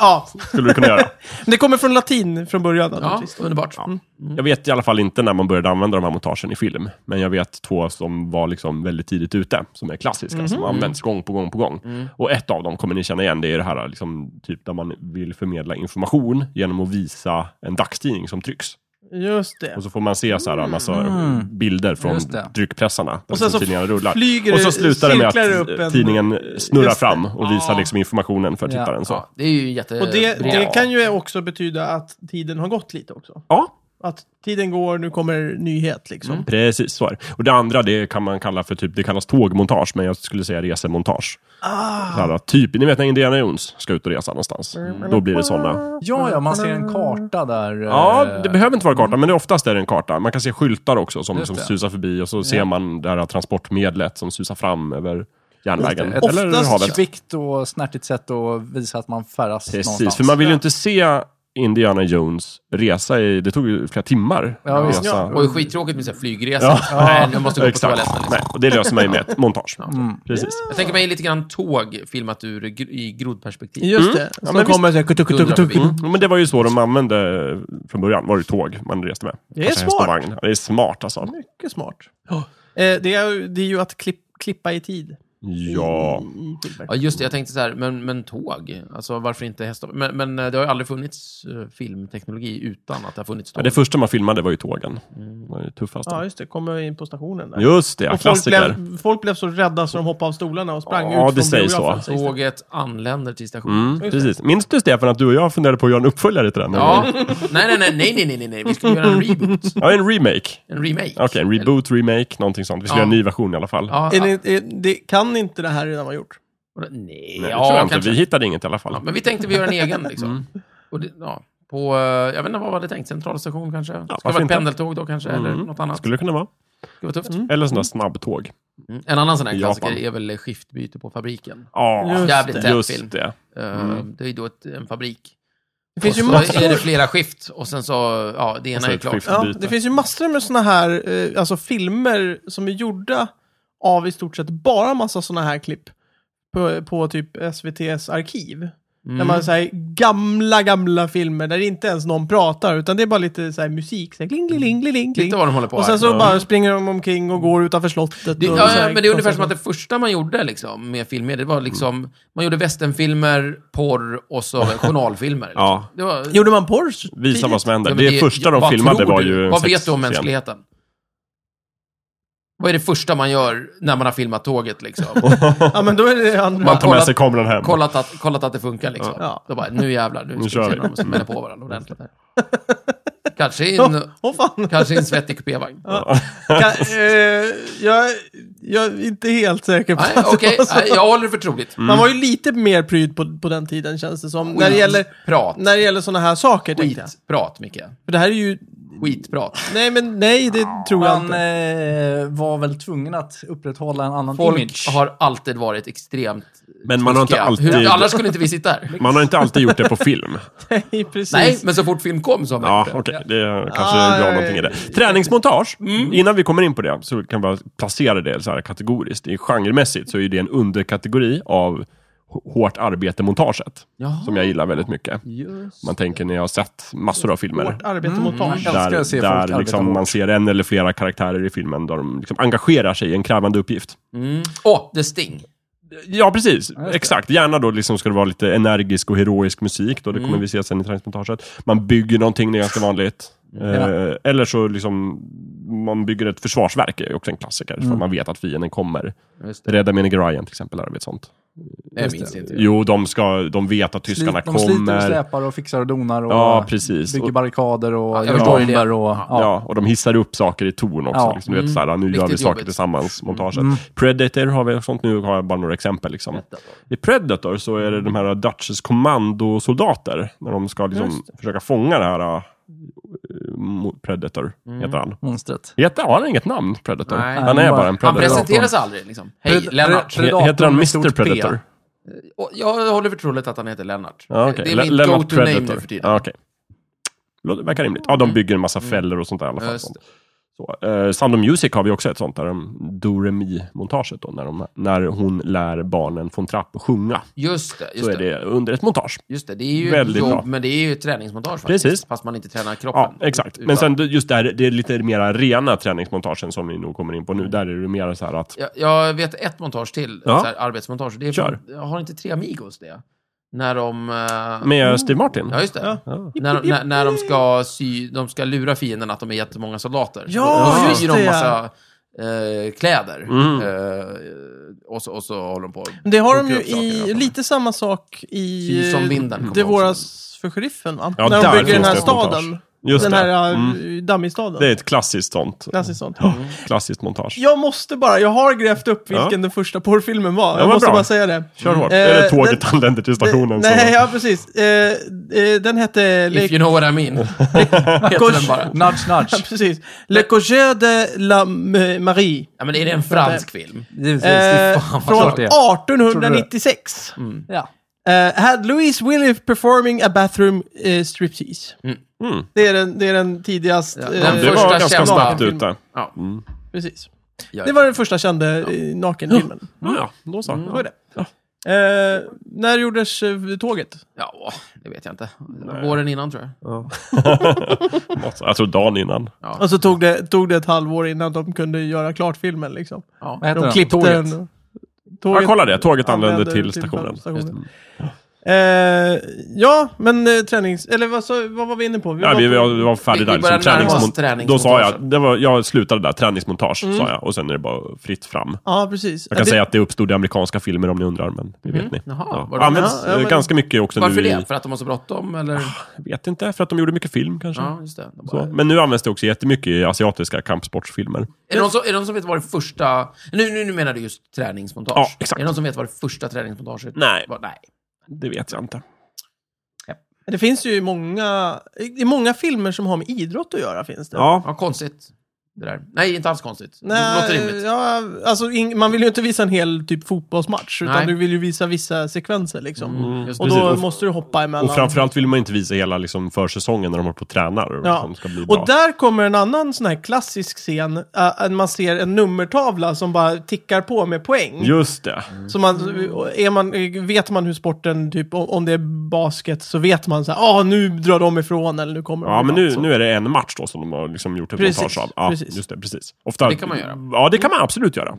Speaker 1: Ja,
Speaker 3: Skulle du kunna göra.
Speaker 1: det kommer från latin från början
Speaker 2: Ja,
Speaker 1: naturligtvis.
Speaker 2: underbart. Mm.
Speaker 3: Mm. Jag vet i alla fall inte när man började använda de här montagen i film. Men jag vet två som var liksom väldigt tidigt ute, som är klassiska, som
Speaker 1: Mhm.
Speaker 3: används gång på gång på gång.
Speaker 1: Mm.
Speaker 3: Och ett av dem kommer ni känna igen, det är det här liksom, typ där man vill förmedla information genom att visa en dagstidning som trycks.
Speaker 1: Just det.
Speaker 3: Och så får man se så här en massa
Speaker 4: Mm.
Speaker 3: bilder från
Speaker 4: Just det.
Speaker 3: tryckpressarna. Där
Speaker 1: Och sen
Speaker 3: liksom
Speaker 1: så
Speaker 3: tidningarna rullar.
Speaker 1: flyger
Speaker 3: och så
Speaker 1: det-
Speaker 3: slutar det med att
Speaker 1: cirklar det upp en-
Speaker 3: tidningen snurrar
Speaker 1: Just det.
Speaker 3: fram och visar
Speaker 2: Ja.
Speaker 3: liksom informationen för
Speaker 4: Ja.
Speaker 3: tittaren. Så. Ja.
Speaker 2: Ja, det är ju jätte...
Speaker 1: Och det,
Speaker 2: bra.
Speaker 1: det kan ju också betyda att tiden har gått lite också. Att tiden går, nu kommer nyhet liksom.
Speaker 2: Mm.
Speaker 3: Mm. Precis, så är det. Och det andra det kan man kalla för typ, det kallas tågmontage, men jag skulle säga resemontage.
Speaker 4: Ah.
Speaker 3: Så här, typ, ni vet när Indiana Jones ska ut och resa någonstans. Då blir det sådana.
Speaker 4: Ja, ja, man ser en karta där.
Speaker 3: Ja,
Speaker 4: eh,
Speaker 3: det behöver inte vara karta, men det är oftast är det en karta. Man kan se skyltar också som,
Speaker 4: Just
Speaker 3: som
Speaker 4: det.
Speaker 3: susar förbi och så ser man det här transportmedlet som susar fram över järnvägen.
Speaker 4: Just det.
Speaker 3: Eller
Speaker 1: Oftast
Speaker 3: havet.
Speaker 4: kvickt och snärtigt sätt att visa att man färdas någonstans.
Speaker 3: Precis, för man vill ju inte se Indiana Jones resa i... Det tog ju flera timmar.
Speaker 4: Ja,
Speaker 3: att
Speaker 4: visst.
Speaker 3: resa.
Speaker 2: Och det är skittråkigt med så här flygresor. Nej, jag måste gå på
Speaker 3: Exakt.
Speaker 2: toaletten. Liksom.
Speaker 3: Nej, och det löser man ju med ett montage.
Speaker 4: Mm.
Speaker 3: Precis.
Speaker 2: Jag tänker mig lite grann tåg filmat ur, gr- i grodperspektiv.
Speaker 1: Just det.
Speaker 3: Ja,
Speaker 1: Som
Speaker 3: men
Speaker 1: kommer så här, kutuk, kutuk, kutuk.
Speaker 2: Mm.
Speaker 3: Mm. Men det var ju så de använde eh, från början. Var det tåg man reste med?
Speaker 1: Det är
Speaker 3: Kanske häst och
Speaker 1: smart.
Speaker 3: vagn. Ja, Det är smart alltså.
Speaker 1: Mycket smart. Eh, det, är, ju- det är ju att klipp, klippa i tid. Mm,
Speaker 3: Ja.
Speaker 1: I, i filmer.
Speaker 2: Ja, just det. Jag tänkte så här, men, men tåg? Alltså varför inte hästar? Men, men eh, det har ju aldrig funnits eh, filmteknologi utan att det har funnits
Speaker 3: Ja,
Speaker 2: tåg.
Speaker 3: det första man filmade var ju tågen. Det var ju tuffast.
Speaker 1: Ja, just det. Kommer in på stationen där.
Speaker 3: Just det, ja,
Speaker 1: och folk
Speaker 3: klassiker.
Speaker 1: blev, folk blev så rädda så de hoppade av stolarna och sprang
Speaker 3: Ja,
Speaker 1: ut
Speaker 3: det
Speaker 1: från
Speaker 3: sägs så.
Speaker 1: biografen, sägs det.
Speaker 2: Tåget anländer till stationen.
Speaker 3: Mm, precis. Minns du Stefan att du och jag funderade på att göra en uppföljare till den?
Speaker 2: Ja. nej, nej, nej, nej, nej, nej, nej, nej. Vi skulle göra en reboot.
Speaker 3: ja en remake.
Speaker 2: En remake.
Speaker 3: Okej, en reboot, remake, någonting sånt. Vi ska
Speaker 2: Ja.
Speaker 3: göra en ny version i alla fall.
Speaker 2: Ja,
Speaker 1: Är
Speaker 2: ja.
Speaker 1: det, är, det, kan inte det här redan vara gjort?
Speaker 2: Nej,
Speaker 3: Nej, det tror
Speaker 2: ja,
Speaker 3: jag inte.
Speaker 2: kanske.
Speaker 3: Vi Mm. hittade inget i alla fall.
Speaker 2: Ja, men vi tänkte vi gör en egen liksom. Och det, ja, på, eh, jag vet inte vad var det tänkt, centralstation kanske? Ska det
Speaker 3: varför
Speaker 2: vara ett
Speaker 3: inte? Mm.
Speaker 2: pendeltåg då kanske, eller något annat?
Speaker 3: Skulle det kunna vara.
Speaker 2: Skulle vara tufft.
Speaker 3: Eller sådana snabbtåg.
Speaker 2: Mm. En annan sån här
Speaker 3: I
Speaker 2: klassiker
Speaker 3: Japan.
Speaker 2: är väl skiftbyte på fabriken.
Speaker 3: Ja,
Speaker 1: Just
Speaker 2: Jävligt
Speaker 1: det.
Speaker 2: tät film.
Speaker 3: just det.
Speaker 2: Eh,
Speaker 3: Mm.
Speaker 2: Det är ju då ett, en fabrik.
Speaker 1: Det finns ju
Speaker 2: och så är det
Speaker 1: massor,
Speaker 2: flera skift och sen så, ja, det
Speaker 3: Och så
Speaker 2: ena är
Speaker 3: ett
Speaker 2: klart.
Speaker 3: skift.
Speaker 1: ja,
Speaker 3: byte.
Speaker 1: det finns ju massor med såna här eh, alltså filmer som är gjorda av i stort sett bara massa såna här klipp på, på typ SVTs arkiv. När
Speaker 2: Mm.
Speaker 1: man säger gamla, gamla filmer där inte ens någon pratar utan det är bara lite så här musik. Så här, kling, kling, kling, kling, kling.
Speaker 2: Titta vad de håller på
Speaker 1: Och sen
Speaker 2: här.
Speaker 1: så bara springer de omkring och går utanför slottet.
Speaker 2: Det,
Speaker 1: och så
Speaker 2: ja,
Speaker 1: här-
Speaker 2: men det är ungefär som
Speaker 1: Mm.
Speaker 2: att det första man gjorde liksom, med filmer, det var liksom, man gjorde westernfilmer, porr och så journalfilmer. Liksom.
Speaker 3: Ja.
Speaker 2: Det var,
Speaker 1: Gjorde man porr? så
Speaker 3: Visa
Speaker 1: tidigt?
Speaker 3: vad som händer.
Speaker 2: Ja, men
Speaker 3: det, första de
Speaker 2: vad
Speaker 3: filmade
Speaker 2: tror
Speaker 3: var
Speaker 2: du?
Speaker 3: ju en
Speaker 2: Vad vet du
Speaker 3: sexscen.
Speaker 2: om mänskligheten? Vad är det första man gör när man har filmat tåget liksom?
Speaker 1: Ja, men då är det andra.
Speaker 3: Man tar med
Speaker 2: Kollat-
Speaker 3: sig kameran hem.
Speaker 2: kollat, att, kollat att det funkar liksom.
Speaker 1: Ja.
Speaker 2: Då bara, nu jävlar, nu,
Speaker 3: Nu
Speaker 2: ska vi
Speaker 3: kör
Speaker 2: se
Speaker 3: vi.
Speaker 2: när de smäller på varandra ordentligt. här. Kanske i
Speaker 1: Åh,
Speaker 2: en,
Speaker 1: åh, fan.
Speaker 2: kanske i en svettig kupévagn.
Speaker 1: Kan, eh, jag, jag är inte helt säker på
Speaker 2: Nej,
Speaker 1: att det
Speaker 2: okej.
Speaker 1: var så.
Speaker 2: Nej, jag håller det för troligt.
Speaker 1: Man var ju lite mer pryd på, på den tiden känns det som. När det gäller,
Speaker 2: Prat.
Speaker 1: när det gäller sådana här saker tänkte jag.
Speaker 2: Skitprat, Micke.
Speaker 1: För det här är ju...
Speaker 2: Skitprat.
Speaker 1: Nej, men nej, det tror jag
Speaker 4: Man
Speaker 1: inte.
Speaker 4: eh, var väl tvungen att upprätthålla en annan
Speaker 2: Folk
Speaker 4: image.
Speaker 2: har alltid varit extremt
Speaker 3: Men man har inte
Speaker 2: tyska.
Speaker 3: alltid-
Speaker 2: Hur, annars skulle inte vi sitta här.
Speaker 3: Man har inte alltid gjort det på film.
Speaker 1: Nej, precis.
Speaker 2: eh, Nej, men så fort film kom så har man
Speaker 3: Ja,
Speaker 2: gjort det.
Speaker 3: okej. Det kanske
Speaker 1: Ah,
Speaker 3: drar
Speaker 1: ja,
Speaker 3: någonting i
Speaker 1: ja.
Speaker 3: det. Träningsmontage. Innan vi kommer in på det så kan vi bara placera det så här kategoriskt. Det är Genremässigt så är det en underkategori av h- hårt arbete-montaget.
Speaker 2: Jaha.
Speaker 3: Som jag gillar väldigt mycket.
Speaker 2: Just.
Speaker 3: Man tänker när jag har sett massor av filmer.
Speaker 1: Hårt arbetemontage.
Speaker 4: Mm. älskar
Speaker 3: där,
Speaker 4: att se folk
Speaker 3: där
Speaker 4: arbeta
Speaker 3: liksom
Speaker 4: hårt.
Speaker 3: man ser en eller flera karaktärer i filmen där de liksom engagerar sig i en krävande uppgift.
Speaker 2: Mm. Åh, The Sting.
Speaker 3: Ja, precis. Exakt. Gärna då liksom ska det vara lite energisk och heroisk musik. Då. Det kommer vi se sen i träningsmontaget. Man bygger någonting, det är ganska vanligt. Eh, eller så liksom, man bygger ett försvarsverk, är ju också en klassiker. För man vet att fienden kommer.
Speaker 2: Just det.
Speaker 3: Rädda Menig Ryan till exempel, är ett sånt.
Speaker 2: Jag minns inte.
Speaker 3: Jo, de, ska, de vet att
Speaker 4: Slit-
Speaker 3: tyskarna
Speaker 4: De sliter och
Speaker 3: kommer.
Speaker 4: släpar och fixar och donar och
Speaker 3: Ja, precis.
Speaker 4: bygger
Speaker 3: Och-
Speaker 4: barrikader och
Speaker 2: jag
Speaker 4: gör
Speaker 2: förstår ju det.
Speaker 4: bomber och...
Speaker 2: Ja.
Speaker 3: Ja. och de hissar upp saker i torn också.
Speaker 4: Ja.
Speaker 3: Liksom, du vet, så här, nu gör vi
Speaker 2: Riktigt
Speaker 3: saker
Speaker 2: jobbigt.
Speaker 3: tillsammans, montaget. Predator har vi och sånt, nu har jag bara några exempel. Liksom. I Predator så är det de här Dutches kommandosoldater, när de ska liksom, försöka fånga det här äh, mo- Predator, heter han.
Speaker 4: Monstret.
Speaker 3: Heter, har han inget namn, Predator?
Speaker 2: Mm. Nej.
Speaker 3: han är bara en
Speaker 2: Han
Speaker 3: Predator.
Speaker 2: presenterar sig aldrig liksom. Hej,
Speaker 4: Pred-
Speaker 2: Lennart.
Speaker 4: Pred-
Speaker 3: He- Heter han
Speaker 4: Predator med
Speaker 3: Mr
Speaker 4: stort P.
Speaker 3: Predator?
Speaker 2: Och jag håller för troligt att han heter Lennart.
Speaker 3: Ja, okej.
Speaker 2: Det är
Speaker 3: Le-
Speaker 2: mitt
Speaker 3: Lennart
Speaker 2: go-to-name
Speaker 3: Predator.
Speaker 2: nu för tiden. Mm.
Speaker 3: Ja, okej. Låter- Verkar rimligt. Ja, de bygger en massa fällor och sånt där i alla fall.
Speaker 2: Just
Speaker 3: Sånt. Så, eh, Sound of Music har vi också ett sånt där, um, Doremi-montaget då, när, de, när hon lär barnen från Trapp att sjunga.
Speaker 2: Just det, just
Speaker 3: Så är
Speaker 2: det.
Speaker 3: det under ett montage.
Speaker 2: Just det, det är ju
Speaker 3: Väldigt
Speaker 2: jobb,
Speaker 3: bra.
Speaker 2: men det är ju ett träningsmontage faktiskt.
Speaker 3: Precis.
Speaker 2: Fast man inte tränar
Speaker 3: Ja,
Speaker 2: kroppen.
Speaker 3: exakt.
Speaker 2: Utan-
Speaker 3: Men sen just där, det är lite mera rena träningsmontagen som vi nog kommer in på
Speaker 2: Mm.
Speaker 3: nu. Där är det mer så här att,
Speaker 2: Jag, jag vet ett montage till,
Speaker 3: Ja.
Speaker 2: så här, arbetsmontage. Det är
Speaker 3: Kör.
Speaker 2: jag har inte Tre Amigos det? När de... eh,
Speaker 3: med Steve Martin.
Speaker 2: Ja, just det.
Speaker 1: Ja.
Speaker 3: Ja.
Speaker 2: När, när, när de, ska sy, de ska lura fienden att de är jättemånga soldater.
Speaker 1: Ja,
Speaker 2: då
Speaker 1: just
Speaker 2: syr de
Speaker 1: det,
Speaker 2: massa eh, kläder.
Speaker 3: Mm.
Speaker 2: Eh, och, så, och så håller de på.
Speaker 1: Men Det har de
Speaker 2: Kokar
Speaker 1: ju
Speaker 2: upp saker i alla
Speaker 1: i,
Speaker 2: fall.
Speaker 1: lite samma sak i
Speaker 2: Fy som vinden, kommer
Speaker 1: Det
Speaker 2: jag ihåg.
Speaker 1: våras för sheriffen va?
Speaker 3: Ja,
Speaker 1: När
Speaker 3: där
Speaker 1: de bygger den
Speaker 3: finns
Speaker 1: här
Speaker 3: det ett montage.
Speaker 1: staden.
Speaker 3: Just
Speaker 1: den
Speaker 3: det.
Speaker 1: här
Speaker 3: Mm.
Speaker 1: mm. dummystaden.
Speaker 3: Det är ett klassiskt sånt. Oh,
Speaker 1: Klassiskt sånt.
Speaker 3: Klassiskt montage.
Speaker 1: Jag måste bara, jag har grävt upp vilken
Speaker 3: Ja.
Speaker 1: den första porrfilmen var.
Speaker 3: Ja,
Speaker 1: jag
Speaker 3: vad
Speaker 1: måste
Speaker 3: bra.
Speaker 1: bara säga det.
Speaker 3: Kör hårt.
Speaker 1: Eh,
Speaker 3: Eller tåget
Speaker 1: den-
Speaker 3: anländer till stationen. så-
Speaker 1: Nej, ja precis. Eh, eh, den hette... Le,
Speaker 2: If you know what I mean. Heter den bara.
Speaker 4: Nudge,
Speaker 1: ja,
Speaker 4: nudge.
Speaker 1: precis. Le Cocher de la M- Marie.
Speaker 2: Ja, men är det en fransk film?
Speaker 4: Givetvis. det är
Speaker 1: Eh,
Speaker 4: fan vad
Speaker 1: från
Speaker 4: klart det är.
Speaker 1: 1896.
Speaker 4: Ja.
Speaker 1: Eh, had Louise Willy performing a bathroom eh, striptease.
Speaker 3: Mm.
Speaker 1: Det är den, det är den tidigast...
Speaker 2: Ja,
Speaker 1: eh,
Speaker 2: den
Speaker 3: Det
Speaker 2: Första
Speaker 3: var ganska
Speaker 2: kända
Speaker 3: snabbt
Speaker 1: filmen.
Speaker 3: ute.
Speaker 2: Ja.
Speaker 1: Precis.
Speaker 2: Ja,
Speaker 1: Det var den första kända eh, nakenfilmen.
Speaker 3: Ja, ja, då så.
Speaker 1: Så är det. Eh, när gjordes eh, tåget?
Speaker 2: ja, åh, det vet jag inte. Våren innan tror jag.
Speaker 3: Något så- Jag tror dagen innan.
Speaker 1: Och så tog det, tog det ett halvår innan de kunde göra klart filmen liksom.
Speaker 2: Ja.
Speaker 4: Vad heter
Speaker 1: De
Speaker 4: den?
Speaker 1: klippte
Speaker 4: Tåget.
Speaker 1: den.
Speaker 3: Ja,
Speaker 1: Tåget
Speaker 3: kolla det. Tåget anländer
Speaker 1: anlände
Speaker 3: till stationen.
Speaker 2: Just
Speaker 1: Eh, ja, men eh, tränings... Eller vad, sa- vad var vi inne på? Vi
Speaker 3: Ja, vi,
Speaker 1: på-
Speaker 3: vi var- vi var färdiga
Speaker 2: Vi-
Speaker 3: där.
Speaker 2: vi började
Speaker 3: Liksom,
Speaker 2: närma oss
Speaker 3: träningsmont- då sa jag,
Speaker 2: träningsmontagen.
Speaker 3: det var, jag slutade där, träningsmontage sa jag. Och sen är det bara fritt fram.
Speaker 1: Ja, precis.
Speaker 3: Jag kan
Speaker 1: det,
Speaker 3: säga att det uppstod i amerikanska filmer om ni undrar, men det vet ni.
Speaker 2: Jaha, var
Speaker 3: ja.
Speaker 2: det-
Speaker 3: Används
Speaker 1: Ja, ja,
Speaker 3: eh,
Speaker 1: men-
Speaker 3: ganska mycket också
Speaker 2: Varför
Speaker 3: nu i,
Speaker 2: det? För att de har så bråttom eller?
Speaker 3: Jag vet inte, för att de gjorde mycket film kanske.
Speaker 2: Ja, just det. De bara,
Speaker 3: Så. Men nu används det också jättemycket i asiatiska kampsportsfilmer.
Speaker 2: Är det, någon som, är det någon som vet vad det första... Nu, nu, nu menar du just träningsmontage.
Speaker 3: Ja, exakt.
Speaker 2: Är det någon som vet vad det första träningsmontaget
Speaker 3: Nej.
Speaker 2: var? Nej.
Speaker 3: Det vet jag inte.
Speaker 1: det finns ju många... I många filmer som har med idrott att göra finns det.
Speaker 3: Ja,
Speaker 2: Ja, konstigt. Det där. Nej, inte alls konstigt. det låter
Speaker 1: Nej,
Speaker 2: rimligt.
Speaker 1: ja, alltså, ing- man vill ju inte visa en hel typ fotbollsmatch, utan
Speaker 2: Nej.
Speaker 1: du vill ju visa vissa sekvenser liksom.
Speaker 2: Just
Speaker 1: Och
Speaker 2: det.
Speaker 1: då
Speaker 3: Mm. Precis, och-
Speaker 1: måste du hoppa emellan.
Speaker 3: och framförallt vill man inte visa hela liksom, försäsongen när de håller på och tränar. Och,
Speaker 1: Ja.
Speaker 3: liksom, ska bli bra.
Speaker 1: Och där kommer en annan sån här klassisk scen, äh, man ser en nummertavla som bara tickar på med poäng.
Speaker 3: Just det.
Speaker 1: Så man, är man, vet man hur sporten, typ o- om det är basket, så vet man så här, ah nu drar de ifrån eller nu kommer
Speaker 3: Ja,
Speaker 1: de
Speaker 3: men
Speaker 1: ifrån",
Speaker 3: nu,
Speaker 1: så.
Speaker 3: nu är det en match då som de har liksom gjort ett
Speaker 1: Alltså. Precis,
Speaker 3: montage av. Ja,
Speaker 1: precis.
Speaker 3: Just det, precis. Ofta,
Speaker 2: Det kan man göra.
Speaker 3: Ja, det kan man absolut göra.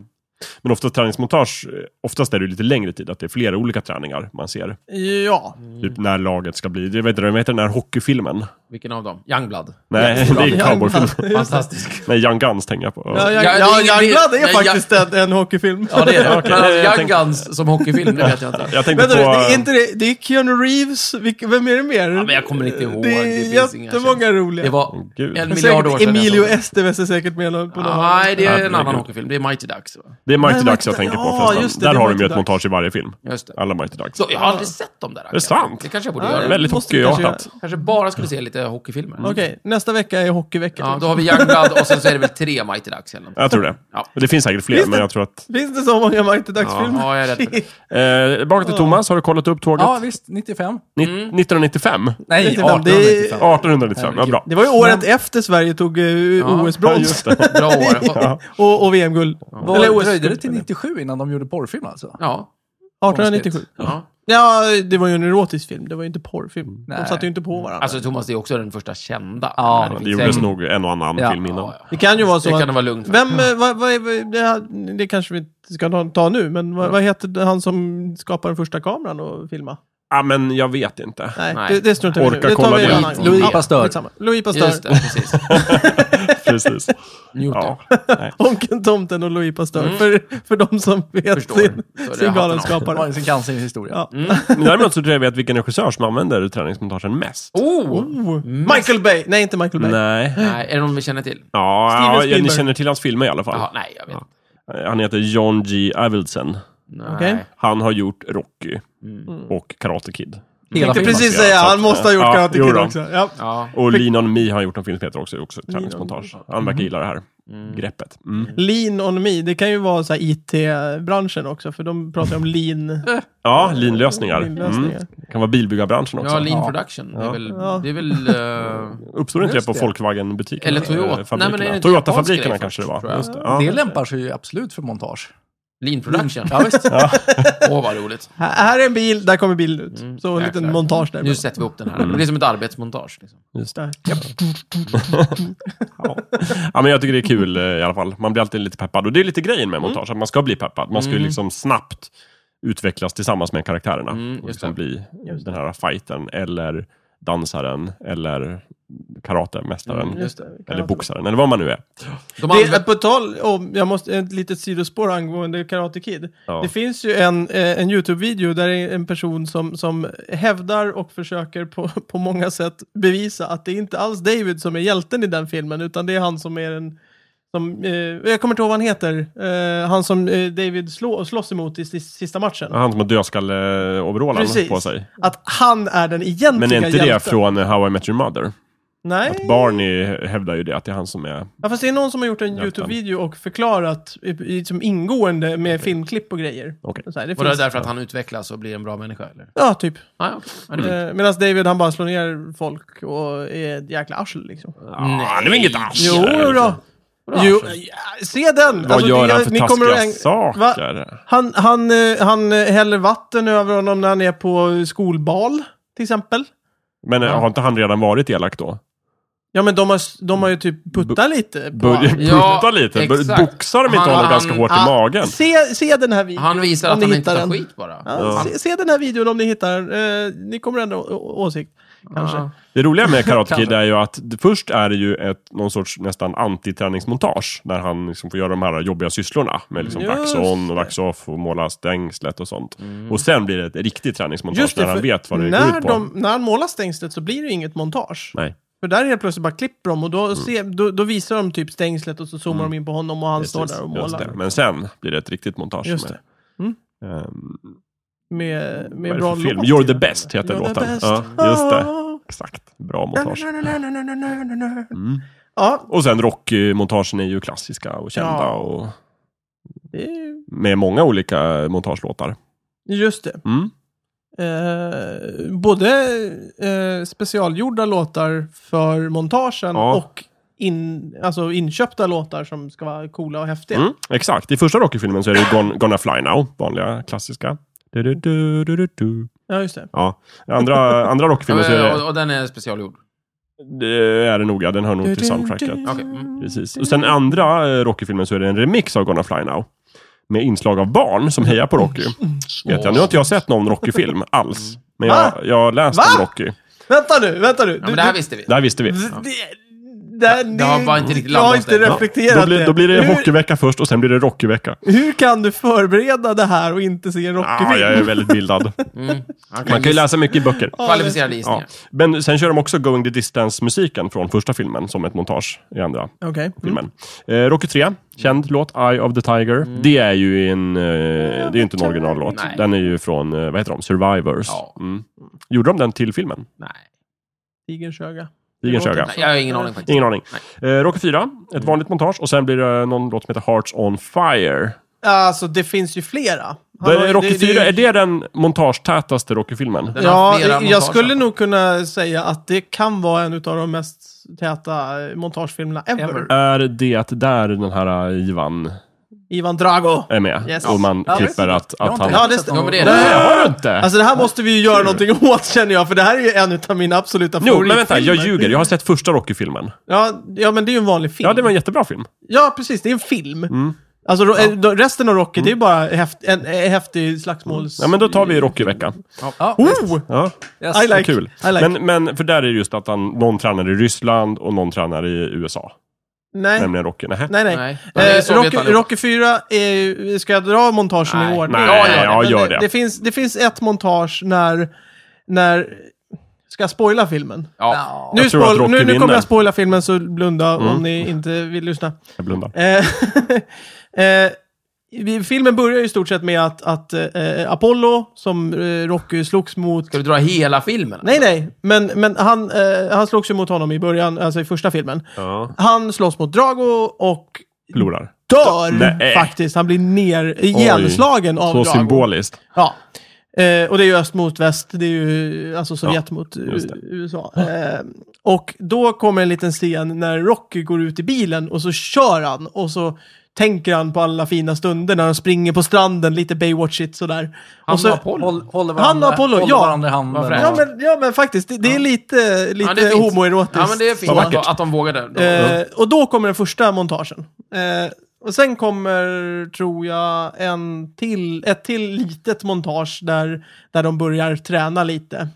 Speaker 3: Men oftast träningsmontage, eh, oftast är det ju lite längre tid, att det är flera olika träningar man ser.
Speaker 1: Ja,
Speaker 3: Typ när laget ska bli, jag vet inte, vad heter den här hockeyfilmen?
Speaker 2: Vilken av dem? Youngblood.
Speaker 3: Nej,
Speaker 2: Jättebra.
Speaker 3: det är cowboyfilm.
Speaker 2: Fantastisk.
Speaker 3: Nej, Young Guns tänker jag på.
Speaker 1: ja, ja,
Speaker 2: Ja,
Speaker 1: ja,
Speaker 2: det är
Speaker 1: ja,
Speaker 2: ingen-
Speaker 1: Youngblood är
Speaker 2: nej,
Speaker 1: faktiskt en, en hockeyfilm.
Speaker 2: Ja, det är det.
Speaker 3: Okej,
Speaker 2: Men alltså,
Speaker 3: jag
Speaker 2: Young
Speaker 3: tänkte-
Speaker 2: Guns som hockeyfilm, det vet jag inte.
Speaker 3: Jag tänkte
Speaker 1: Vänta
Speaker 3: på... eh,
Speaker 1: nu, det är inte det, det är Keanu Reeves, vilk, vem är det mer? Ja,
Speaker 2: men jag kommer inte ihåg,
Speaker 1: Det
Speaker 2: det
Speaker 1: är
Speaker 2: finns inga
Speaker 1: jättemånga roliga.
Speaker 2: Det var
Speaker 3: Gud.
Speaker 1: Men
Speaker 2: en miljard år
Speaker 1: säkert
Speaker 2: sedan. jag
Speaker 1: Emilio
Speaker 2: såg den.
Speaker 1: Estevez är säkert med på någon
Speaker 2: Nej, det är en
Speaker 3: Herregud.
Speaker 2: annan hockeyfilm. Det är Mighty Ducks. Va?
Speaker 3: Det är Mighty
Speaker 1: Nej,
Speaker 3: Ducks jag
Speaker 1: Mighty-
Speaker 3: tänker på
Speaker 1: ja,
Speaker 3: förresten.
Speaker 1: just det,
Speaker 3: Där
Speaker 1: det är
Speaker 3: har de ju
Speaker 1: Mighty
Speaker 3: ett
Speaker 1: Ducks.
Speaker 3: montage i varje film.
Speaker 2: Just det.
Speaker 3: Alla Mighty Ducks.
Speaker 2: Så, jag har aldrig sett dem där.
Speaker 3: Det är sant.
Speaker 2: Det kanske jag borde
Speaker 1: Ja,
Speaker 2: göra.
Speaker 1: men-
Speaker 3: Väldigt
Speaker 1: Måste vi kanske
Speaker 3: hockeyartat.
Speaker 2: Kanske bara skulle se lite hockeyfilmer.
Speaker 3: Mm.
Speaker 1: Okej, nästa vecka är hockeyvecka.
Speaker 2: Ja, då har vi Youngblood och sen så är det väl tre Mighty Ducks eller något.
Speaker 3: Jag tror det.
Speaker 2: Ja.
Speaker 3: Det finns säkert fler,
Speaker 1: Finns det?
Speaker 3: men jag tror att...
Speaker 1: Finns det så många Mighty Ducks-filmer?
Speaker 2: Ja, jag är rädd för det.
Speaker 1: Shit.
Speaker 3: Eh, bak till Thomas, har du kollat upp tåget?
Speaker 4: ja, visst. 95.
Speaker 3: Ni-
Speaker 1: Mm.
Speaker 3: 1995?
Speaker 4: Nej,
Speaker 1: 95, det är-
Speaker 4: 1895.
Speaker 3: 1895, ja bra.
Speaker 1: Det var ju året efter Sverige tog eh,
Speaker 3: Ja,
Speaker 1: OS-brons.
Speaker 3: just det.
Speaker 2: Bra år. Ja.
Speaker 1: Och, och VM-guld.
Speaker 4: Vad
Speaker 1: Eller OS.
Speaker 4: dröjde det till 97 innan de gjorde porrfilm alltså?
Speaker 2: ja.
Speaker 1: 1897.
Speaker 2: ja.
Speaker 1: Ja, det var ju en erotisk film. Det var ju inte porrfilm. De
Speaker 4: Nej.
Speaker 1: satte ju inte på varandra.
Speaker 2: Alltså Thomas, det är också den första kända. Men
Speaker 4: Ja, det
Speaker 3: Det
Speaker 2: finns
Speaker 3: gjordes
Speaker 2: en-
Speaker 3: nog en och annan
Speaker 4: Ja.
Speaker 3: film innan.
Speaker 2: Ja, ja.
Speaker 1: det kan ju vara
Speaker 2: Det
Speaker 1: så
Speaker 2: kan
Speaker 1: att...
Speaker 2: det vara lugnt.
Speaker 1: Vem, eh, vad, vad är, det, här- det kanske vi inte ska ta- ta nu, men vad, vad heter han som skapade den första kameran och filma?
Speaker 3: Ja, men jag vet inte.
Speaker 1: Nej,
Speaker 2: Nej.
Speaker 1: Det, det struntar vi i nu.
Speaker 3: Orkar
Speaker 1: Det tar
Speaker 3: kolla
Speaker 1: vi en
Speaker 3: det.
Speaker 1: annan gång.
Speaker 2: Louis
Speaker 1: Ja,
Speaker 4: Pasteur.
Speaker 1: skitsamma. Louis
Speaker 2: Just det,
Speaker 1: Pasteur.
Speaker 2: precis.
Speaker 3: Precis.
Speaker 2: Newton.
Speaker 3: Ja.
Speaker 1: Onkeln Tomten och Louis Pasteur. För, för de som vet
Speaker 2: Mm. Förstår.
Speaker 1: sin,
Speaker 2: Så det är
Speaker 1: sin
Speaker 2: hatten av.
Speaker 4: Det var
Speaker 1: galenskapare.
Speaker 4: ju sin cancerhistoria.
Speaker 1: Ja.
Speaker 3: Men däremot så tror jag vet vilken regissör som använder träningsmontagen mest.
Speaker 2: Oh!
Speaker 1: Oh, Michael Bay! Nej, inte Michael Bay.
Speaker 3: Nej.
Speaker 2: Nej, är det någon vi känner till?
Speaker 3: Ja,
Speaker 1: Steven
Speaker 3: ja, ja, ni
Speaker 1: Spielberg.
Speaker 3: känner till hans filmer i alla fall.
Speaker 2: Jaha, nej, jag vet inte.
Speaker 3: Han heter John G. Avildsen.
Speaker 2: Nej.
Speaker 1: Okej.
Speaker 3: Han har gjort Rocky och Karate Kid.
Speaker 4: Hela
Speaker 1: tänkte
Speaker 4: filmen.
Speaker 1: precis
Speaker 3: baserat,
Speaker 1: säga,
Speaker 3: så att-
Speaker 1: han måste ha gjort
Speaker 3: Ja,
Speaker 1: Karate
Speaker 3: jo
Speaker 1: Kid
Speaker 3: då.
Speaker 1: också. Ja.
Speaker 2: Ja.
Speaker 3: Och Linon Mi har gjort en film som heter också, också ett träningsmontage. Han verkar gilla det här. greppet. Mm.
Speaker 1: Lean on me, det kan ju vara så här IT-branschen också, för de pratar ju om lean.
Speaker 3: Ja, linlösningar.
Speaker 1: Lean-lösningar.
Speaker 3: Mm. Det kan vara bilbilbyggarbranschen också.
Speaker 2: Ja, Lean Production. Det är väl...
Speaker 1: Ja.
Speaker 2: Det är väl eh,
Speaker 3: Uppstod inte det
Speaker 4: Just
Speaker 3: på
Speaker 4: det.
Speaker 3: Volkswagen-butikerna?
Speaker 2: Eller Toyota.
Speaker 3: eh, fabrikerna?
Speaker 2: Nej, men är det inte japansk
Speaker 3: Toyota-fabrikerna
Speaker 2: grej
Speaker 3: kanske det
Speaker 2: först, tror
Speaker 3: var.
Speaker 2: jag?
Speaker 3: Just det. Ja.
Speaker 4: Det lämpar sig ju absolut för montage.
Speaker 2: lean Production.
Speaker 4: Ja, visst.
Speaker 2: Åh, vad roligt.
Speaker 1: Här, här är en bil, där kommer bilen ut.
Speaker 3: Mm,
Speaker 1: så en
Speaker 2: jäklar.
Speaker 1: liten montage där.
Speaker 2: Nu sätter vi upp den här. Det blir som ett arbetsmontage. Liksom.
Speaker 3: Just det.
Speaker 1: Där.
Speaker 3: Ja. ja, men jag tycker det är kul eh, i alla fall. Man blir alltid lite peppad. Och det är lite grejen med montage, att man ska bli peppad. Man ska ju liksom snabbt utvecklas tillsammans med karaktärerna.
Speaker 2: Mm, just
Speaker 3: och liksom
Speaker 2: det.
Speaker 3: bli
Speaker 1: Just
Speaker 3: den här fightern eller dansaren, eller karatemästaren,
Speaker 2: Mm, just det.
Speaker 3: eller boxaren, eller vad man nu är.
Speaker 2: De
Speaker 1: Det är
Speaker 2: använder...
Speaker 1: på tal om, jag måste, ett litet sidospår angående Karate Kid.
Speaker 3: Ja.
Speaker 1: Det finns ju en, eh, en YouTube-video där det är en person som, som hävdar och försöker på, på många sätt bevisa att det är inte alls David som är hjälten i den filmen, utan det är han som är en som, eh, jag kommer inte ihåg vad han heter. Eh, han som eh, David slå, slåss emot i sis- sista matchen.
Speaker 3: Han som har dödskalle-overallen
Speaker 1: Precis.
Speaker 3: på sig.
Speaker 1: Att han är den egentliga
Speaker 3: Men är inte det
Speaker 1: hjälten.
Speaker 3: från How I Met Your Mother?
Speaker 1: Nej.
Speaker 3: Att Barney hävdar ju det, att det är han som är...
Speaker 1: Ja, fast det är någon som har gjort en
Speaker 3: Hjälten.
Speaker 1: YouTube-video och förklarat i- i- som ingående med filmklipp och grejer.
Speaker 3: Okej.
Speaker 1: Så här, det
Speaker 2: Var det
Speaker 1: finns,
Speaker 2: därför att han utvecklas och blir en bra människa? Eller?
Speaker 1: ja, typ.
Speaker 2: Ah, ja. Ja, det är
Speaker 3: Mm.
Speaker 1: Eh, Medan David han bara slår ner folk och är ett jäkla arsel liksom.
Speaker 3: Ah, det var inget arsel!
Speaker 1: Jo då. Jo, ja, se den! Alltså,
Speaker 3: Vad gör han för taskiga
Speaker 1: att äng- Va?
Speaker 3: saker?
Speaker 1: Han, han, eh, han eh, häller vatten över honom när han är på skolbal, till exempel.
Speaker 3: Men eh, har inte han redan varit elak då?
Speaker 1: Ja, men de har, s- de har ju typ puttat lite på
Speaker 3: Börja
Speaker 1: han.
Speaker 2: Ja,
Speaker 3: putta lite. Bör,
Speaker 2: exakt.
Speaker 3: boxar de inte
Speaker 2: Han-
Speaker 3: honom
Speaker 2: han-
Speaker 3: ganska hårt
Speaker 1: ah,
Speaker 3: i magen?
Speaker 1: Se, se den här videon.
Speaker 2: Han visar
Speaker 1: om
Speaker 2: att
Speaker 1: ni
Speaker 2: han inte
Speaker 1: hittar
Speaker 2: tar
Speaker 1: den.
Speaker 2: skit bara.
Speaker 1: Ja, se, se den här videon om ni hittar den. Eh, ni kommer ändra å- å- åsikt, kanske.
Speaker 2: Ja.
Speaker 3: Det roliga med Karate Kid
Speaker 4: Kanske.
Speaker 3: är ju att det, först är det ju ett, någon sorts nästan antiträningsmontage. Där han liksom får göra de här jobbiga sysslorna. Med liksom
Speaker 1: Just Mm.
Speaker 3: vax on och vax off och måla stängslet och sånt. Och sen blir det ett riktigt träningsmontage
Speaker 1: Just det,
Speaker 3: där han
Speaker 1: för
Speaker 3: vet vad det går
Speaker 1: när,
Speaker 3: ut på.
Speaker 1: de, när han målar stängslet så blir det ju inget montage.
Speaker 3: Nej. Mm.
Speaker 1: För där helt plötsligt bara klipper de och då, ser, då, då visar de typ stängslet och så zoomar de in på honom och han står
Speaker 3: Precis,
Speaker 1: där och
Speaker 3: just det.
Speaker 1: målar.
Speaker 3: Men sen blir det ett riktigt montage.
Speaker 1: Just
Speaker 3: med, ehm,
Speaker 1: Med,
Speaker 3: vad är
Speaker 1: med
Speaker 3: det
Speaker 1: bra
Speaker 3: för film?
Speaker 1: låt.
Speaker 3: You're the best heter
Speaker 1: You're the
Speaker 3: låten.
Speaker 1: best.
Speaker 3: Ja, just det.
Speaker 1: Ah.
Speaker 3: Exakt. Bra montage. Mm.
Speaker 1: Ja,
Speaker 3: Och sen rockmontagen är ju klassiska och kända.
Speaker 1: Ja.
Speaker 3: Och
Speaker 1: det är ju-
Speaker 3: med många olika montagelåtar.
Speaker 1: just det.
Speaker 3: Mm.
Speaker 1: Eh, både eh, specialgjorda låtar för montagen
Speaker 3: Ja.
Speaker 1: och in, alltså inköpta låtar som ska vara coola och häftiga.
Speaker 3: Mm. Exakt. I första Rocky-filmen så är det ju Gon- Gonna Fly Now, vanliga klassiska. Du, du, du, du, du, du.
Speaker 1: Ja, just det.
Speaker 3: Ja. I Andra, andra Rocky-filmen så är
Speaker 2: Ja,
Speaker 3: det,
Speaker 2: och, och den är specialgjord.
Speaker 3: det är det nog, ja. Den hör nog till soundtracket.
Speaker 2: Okej. Mm.
Speaker 3: Precis. Och sen andra eh, Rocky-filmen så är det en remix av Gonna Fly Now. Med inslag av barn som hejar på Rocky.
Speaker 2: Mm.
Speaker 3: Vet jag. Nu har inte jag sett någon Rocky-film alls. Men jag,
Speaker 1: Va?
Speaker 3: jag har läst
Speaker 1: Va?
Speaker 3: om Rocky.
Speaker 1: Vänta nu, vänta nu.
Speaker 2: Ja,
Speaker 1: Du-
Speaker 2: men det här
Speaker 1: du-
Speaker 2: visste vi.
Speaker 3: Det här visste vi.
Speaker 1: Det, det, det,
Speaker 2: Det har bara inte riktigt
Speaker 1: jag har
Speaker 2: landat
Speaker 1: inte
Speaker 2: än. Ja,
Speaker 1: reflekterat
Speaker 3: Då blir,
Speaker 1: det.
Speaker 3: då blir det
Speaker 1: hur,
Speaker 3: hockeyvecka först och sen blir det Rocky-vecka.
Speaker 1: hur kan du förbereda det här och inte se en
Speaker 3: Ah,
Speaker 1: Rocky-film?
Speaker 3: jag är väldigt bildad.
Speaker 2: Mm. Han
Speaker 3: Man kan ju läsa mycket i böcker.
Speaker 2: Kvalificerade
Speaker 3: Ja.
Speaker 2: gissningar.
Speaker 3: Men sen kör de också Going the Distance-musiken från första filmen som ett montage i andra
Speaker 1: Okej.
Speaker 3: filmen. Eh, Rocky 3, känd låt, Eye of the Tiger. Det är ju en, eh, det är ju inte en originallåt.
Speaker 2: Nej.
Speaker 3: Den är ju från, eh, vad heter de, Survivors.
Speaker 2: Ja.
Speaker 3: Mm. Gjorde de den till filmen?
Speaker 2: Nej.
Speaker 1: Tigerns öga.
Speaker 3: Tigerns
Speaker 1: Det låter
Speaker 3: öga.
Speaker 2: Nej, jag har ingen aning faktiskt.
Speaker 3: Ingen aning. Eh, Rocky 4, ett vanligt montage. Och sen blir det någon låt som heter Hearts on Fire.
Speaker 1: Alltså, det finns ju flera. Han har
Speaker 3: Det,
Speaker 1: ju-
Speaker 3: Rocky 4,
Speaker 1: ju-
Speaker 3: är det den montagetätaste Rocky-filmen?
Speaker 2: Den har
Speaker 1: Ja,
Speaker 2: flera
Speaker 1: jag
Speaker 2: montager.
Speaker 1: skulle nog kunna säga att det kan vara en av de mest täta eh, montagefilmerna ever.
Speaker 2: Ever.
Speaker 3: Är det där den här eh, Ivan
Speaker 1: Ivan Drago.
Speaker 3: är med?
Speaker 1: Yes.
Speaker 3: Och man
Speaker 4: Ja, visst.
Speaker 3: klipper Typ att,
Speaker 4: Jag
Speaker 3: att
Speaker 4: har inte
Speaker 3: han...
Speaker 4: heller
Speaker 1: Ja, det
Speaker 4: sett
Speaker 1: stä-
Speaker 4: någon-
Speaker 2: Ja, men det är det.
Speaker 1: Nej.
Speaker 3: Nej, har du inte?
Speaker 1: Alltså det här måste vi ju göra någonting åt känner jag, för det här är ju en av mina absoluta
Speaker 3: Jo, men vänta,
Speaker 1: favoritfilmer.
Speaker 3: jag ljuger. Jag har sett första Rocky-filmen.
Speaker 1: Ja, ja, men det är ju en vanlig film.
Speaker 3: Ja, det Mm. var en jättebra film.
Speaker 1: Ja, precis. Det är en film. Alltså, ro- eh, då- resten av Rocky, det är ju bara häft, en, en häftig slagsmåls...
Speaker 3: Mm. Ja, men då tar vi Rocky-veckan.
Speaker 4: Ja,
Speaker 1: Oh!
Speaker 3: Ja,
Speaker 4: yes.
Speaker 1: I like.
Speaker 3: kul.
Speaker 1: I like.
Speaker 3: Men, men för där är det just att han, någon tränar i Ryssland och någon tränar i USA.
Speaker 1: Nej.
Speaker 3: Nämligen Rocky. Nähä.
Speaker 1: Nej, nej.
Speaker 2: Nej. Det är
Speaker 1: Eh,
Speaker 2: Sovjet
Speaker 1: Rocky,
Speaker 2: allihopa.
Speaker 1: Rocky 4, är, ju- ska jag dra montagen
Speaker 2: Nej.
Speaker 1: i ordning?
Speaker 3: Nej,
Speaker 2: Ja, gör det.
Speaker 3: ja,
Speaker 1: Men
Speaker 3: gör
Speaker 1: det,
Speaker 3: det.
Speaker 1: det, finns, det finns ett montage när, när... Ska jag spoila filmen?
Speaker 2: Ja.
Speaker 4: Ja.
Speaker 1: Nu,
Speaker 3: tror att
Speaker 1: spoil,
Speaker 3: Rocky
Speaker 1: nu, nu
Speaker 3: vinner.
Speaker 1: kommer jag spoila filmen, så blunda om ni inte vill lyssna.
Speaker 3: Jag blundar.
Speaker 1: Eh, eh, vi- filmen börjar ju i stort sett med att, att eh, Apollo, som eh, Rocky slogs mot...
Speaker 2: Ska du dra hela filmen?
Speaker 1: Nej, nej, men, men han, eh, han slogs ju mot honom i början, alltså i första filmen.
Speaker 3: Ja.
Speaker 1: Han slåss mot Drago och
Speaker 3: Förlorar.
Speaker 1: dör
Speaker 3: Nej.
Speaker 1: faktiskt. Han blir ner, igenslagen av
Speaker 3: Så
Speaker 1: Drago.
Speaker 3: symboliskt.
Speaker 1: Ja. Eh, och det är ju öst mot väst, det är ju alltså Sovjet mot eh,
Speaker 3: just det.
Speaker 1: USA. Eh, och då kommer en liten scen när Rocky går ut i bilen och så kör han och så tänker han på alla fina stunder när han springer på stranden, lite Baywatch-igt sådär.
Speaker 2: Han
Speaker 1: och så,
Speaker 2: var Apollo.
Speaker 4: Håll, håller varandra,
Speaker 1: Han och Apollo,
Speaker 4: håller
Speaker 1: ja.
Speaker 4: varandra i handen.
Speaker 2: Vad fränt.
Speaker 1: ja, men, ja men faktiskt, det, det är lite,
Speaker 2: Ja,
Speaker 1: lite
Speaker 2: det är fint.
Speaker 1: homoerotiskt.
Speaker 2: Ja, men det är fint
Speaker 1: så.
Speaker 2: att, de- att de vågade. De,
Speaker 1: Eh, och då kommer den första montagen. Eh, och sen kommer, tror jag, en till, ett till litet montage där, där de börjar träna lite.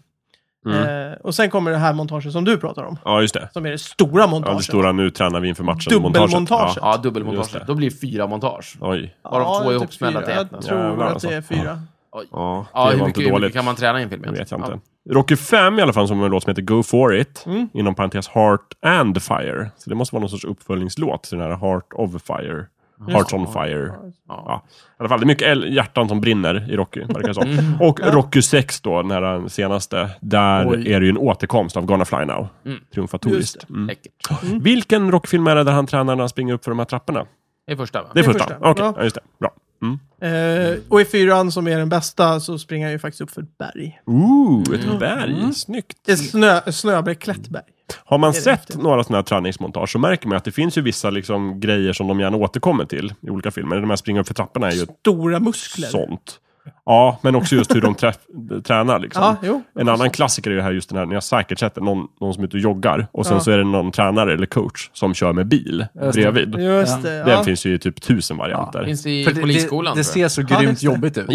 Speaker 3: Mm.
Speaker 1: Eh, och sen kommer det här montagen som du pratar om.
Speaker 3: Ja, just det.
Speaker 1: Som är det stora
Speaker 3: Ja,
Speaker 1: montagen.
Speaker 3: det stora nu tränar vi inför matchen.
Speaker 1: Dubbelmontaget.
Speaker 3: montaget. Ja.
Speaker 2: ja,
Speaker 3: Just
Speaker 2: dubbelmontage.
Speaker 3: det.
Speaker 2: Då blir det fyra montage.
Speaker 3: Oj.
Speaker 2: Bara de två
Speaker 1: typ
Speaker 2: ihopsmällda till
Speaker 1: fyra.
Speaker 2: ett.
Speaker 1: Jag
Speaker 2: nästan.
Speaker 1: tror
Speaker 3: Jävlar,
Speaker 1: att det är
Speaker 3: alltså.
Speaker 1: fyra.
Speaker 3: Ja, det
Speaker 2: Ja, hur
Speaker 3: var
Speaker 2: mycket,
Speaker 3: inte
Speaker 2: hur
Speaker 3: dåligt.
Speaker 2: mycket kan man träna i en film?
Speaker 3: Det vet jag
Speaker 2: egentligen?
Speaker 3: inte. Rocky 5 i alla fall, som har en låt som heter Go For It. Inom parentes Heart and Fire. Så det måste vara någon sorts uppföljningslåt till den här Heart of Fire. Hearts on Fire.
Speaker 2: Ja.
Speaker 3: Ja. I alla fall, det är mycket el- hjärtan som brinner i Rocky, verkar det som. Och Rocky 6 då, när den senaste, där
Speaker 2: Oj.
Speaker 3: är det ju en återkomst av Gonna Fly Now.
Speaker 1: Just
Speaker 3: Triumfatoriskt. Mm.
Speaker 2: Ja. Läckert.
Speaker 3: Vilken rockfilm är det där han tränar när han springer upp för de här trapporna?
Speaker 2: Det är första, va?
Speaker 3: Det är
Speaker 1: Det är
Speaker 3: första.
Speaker 1: första.
Speaker 3: Okej,
Speaker 1: Ja.
Speaker 3: ja. just det. Bra. Mm.
Speaker 1: Eh, och i fyran, som är den bästa, så springer han ju faktiskt upp för ett berg.
Speaker 3: Ooh, ett berg. Snyggt.
Speaker 1: Ett snö, snöbeklätt berg.
Speaker 3: Har man
Speaker 1: det
Speaker 3: sett
Speaker 1: häftigt?
Speaker 3: några sådana här träningsmontage så märker man att det finns ju vissa liksom, grejer som de gärna återkommer till i olika filmer. De här springa upp för trapporna är ju ett
Speaker 1: Stora muskler.
Speaker 3: sånt. Ja, men också just hur de träff- tränar. Liksom.
Speaker 1: Ja, jo.
Speaker 3: En annan klassiker är ju här just den här, ni har säkert sett det, någon, någon som är ute och joggar och sen
Speaker 1: Ja.
Speaker 3: så är det någon tränare eller coach som kör med bil
Speaker 4: Just det.
Speaker 3: bredvid.
Speaker 1: Just det,
Speaker 3: Den
Speaker 1: ja.
Speaker 3: finns ju i typ tusen varianter. Ja,
Speaker 2: Finns i
Speaker 4: För det-
Speaker 2: polisskolan.
Speaker 4: Det, det
Speaker 2: tror jag.
Speaker 4: ser så
Speaker 1: Ja,
Speaker 4: grymt
Speaker 1: just det.
Speaker 4: jobbigt ut.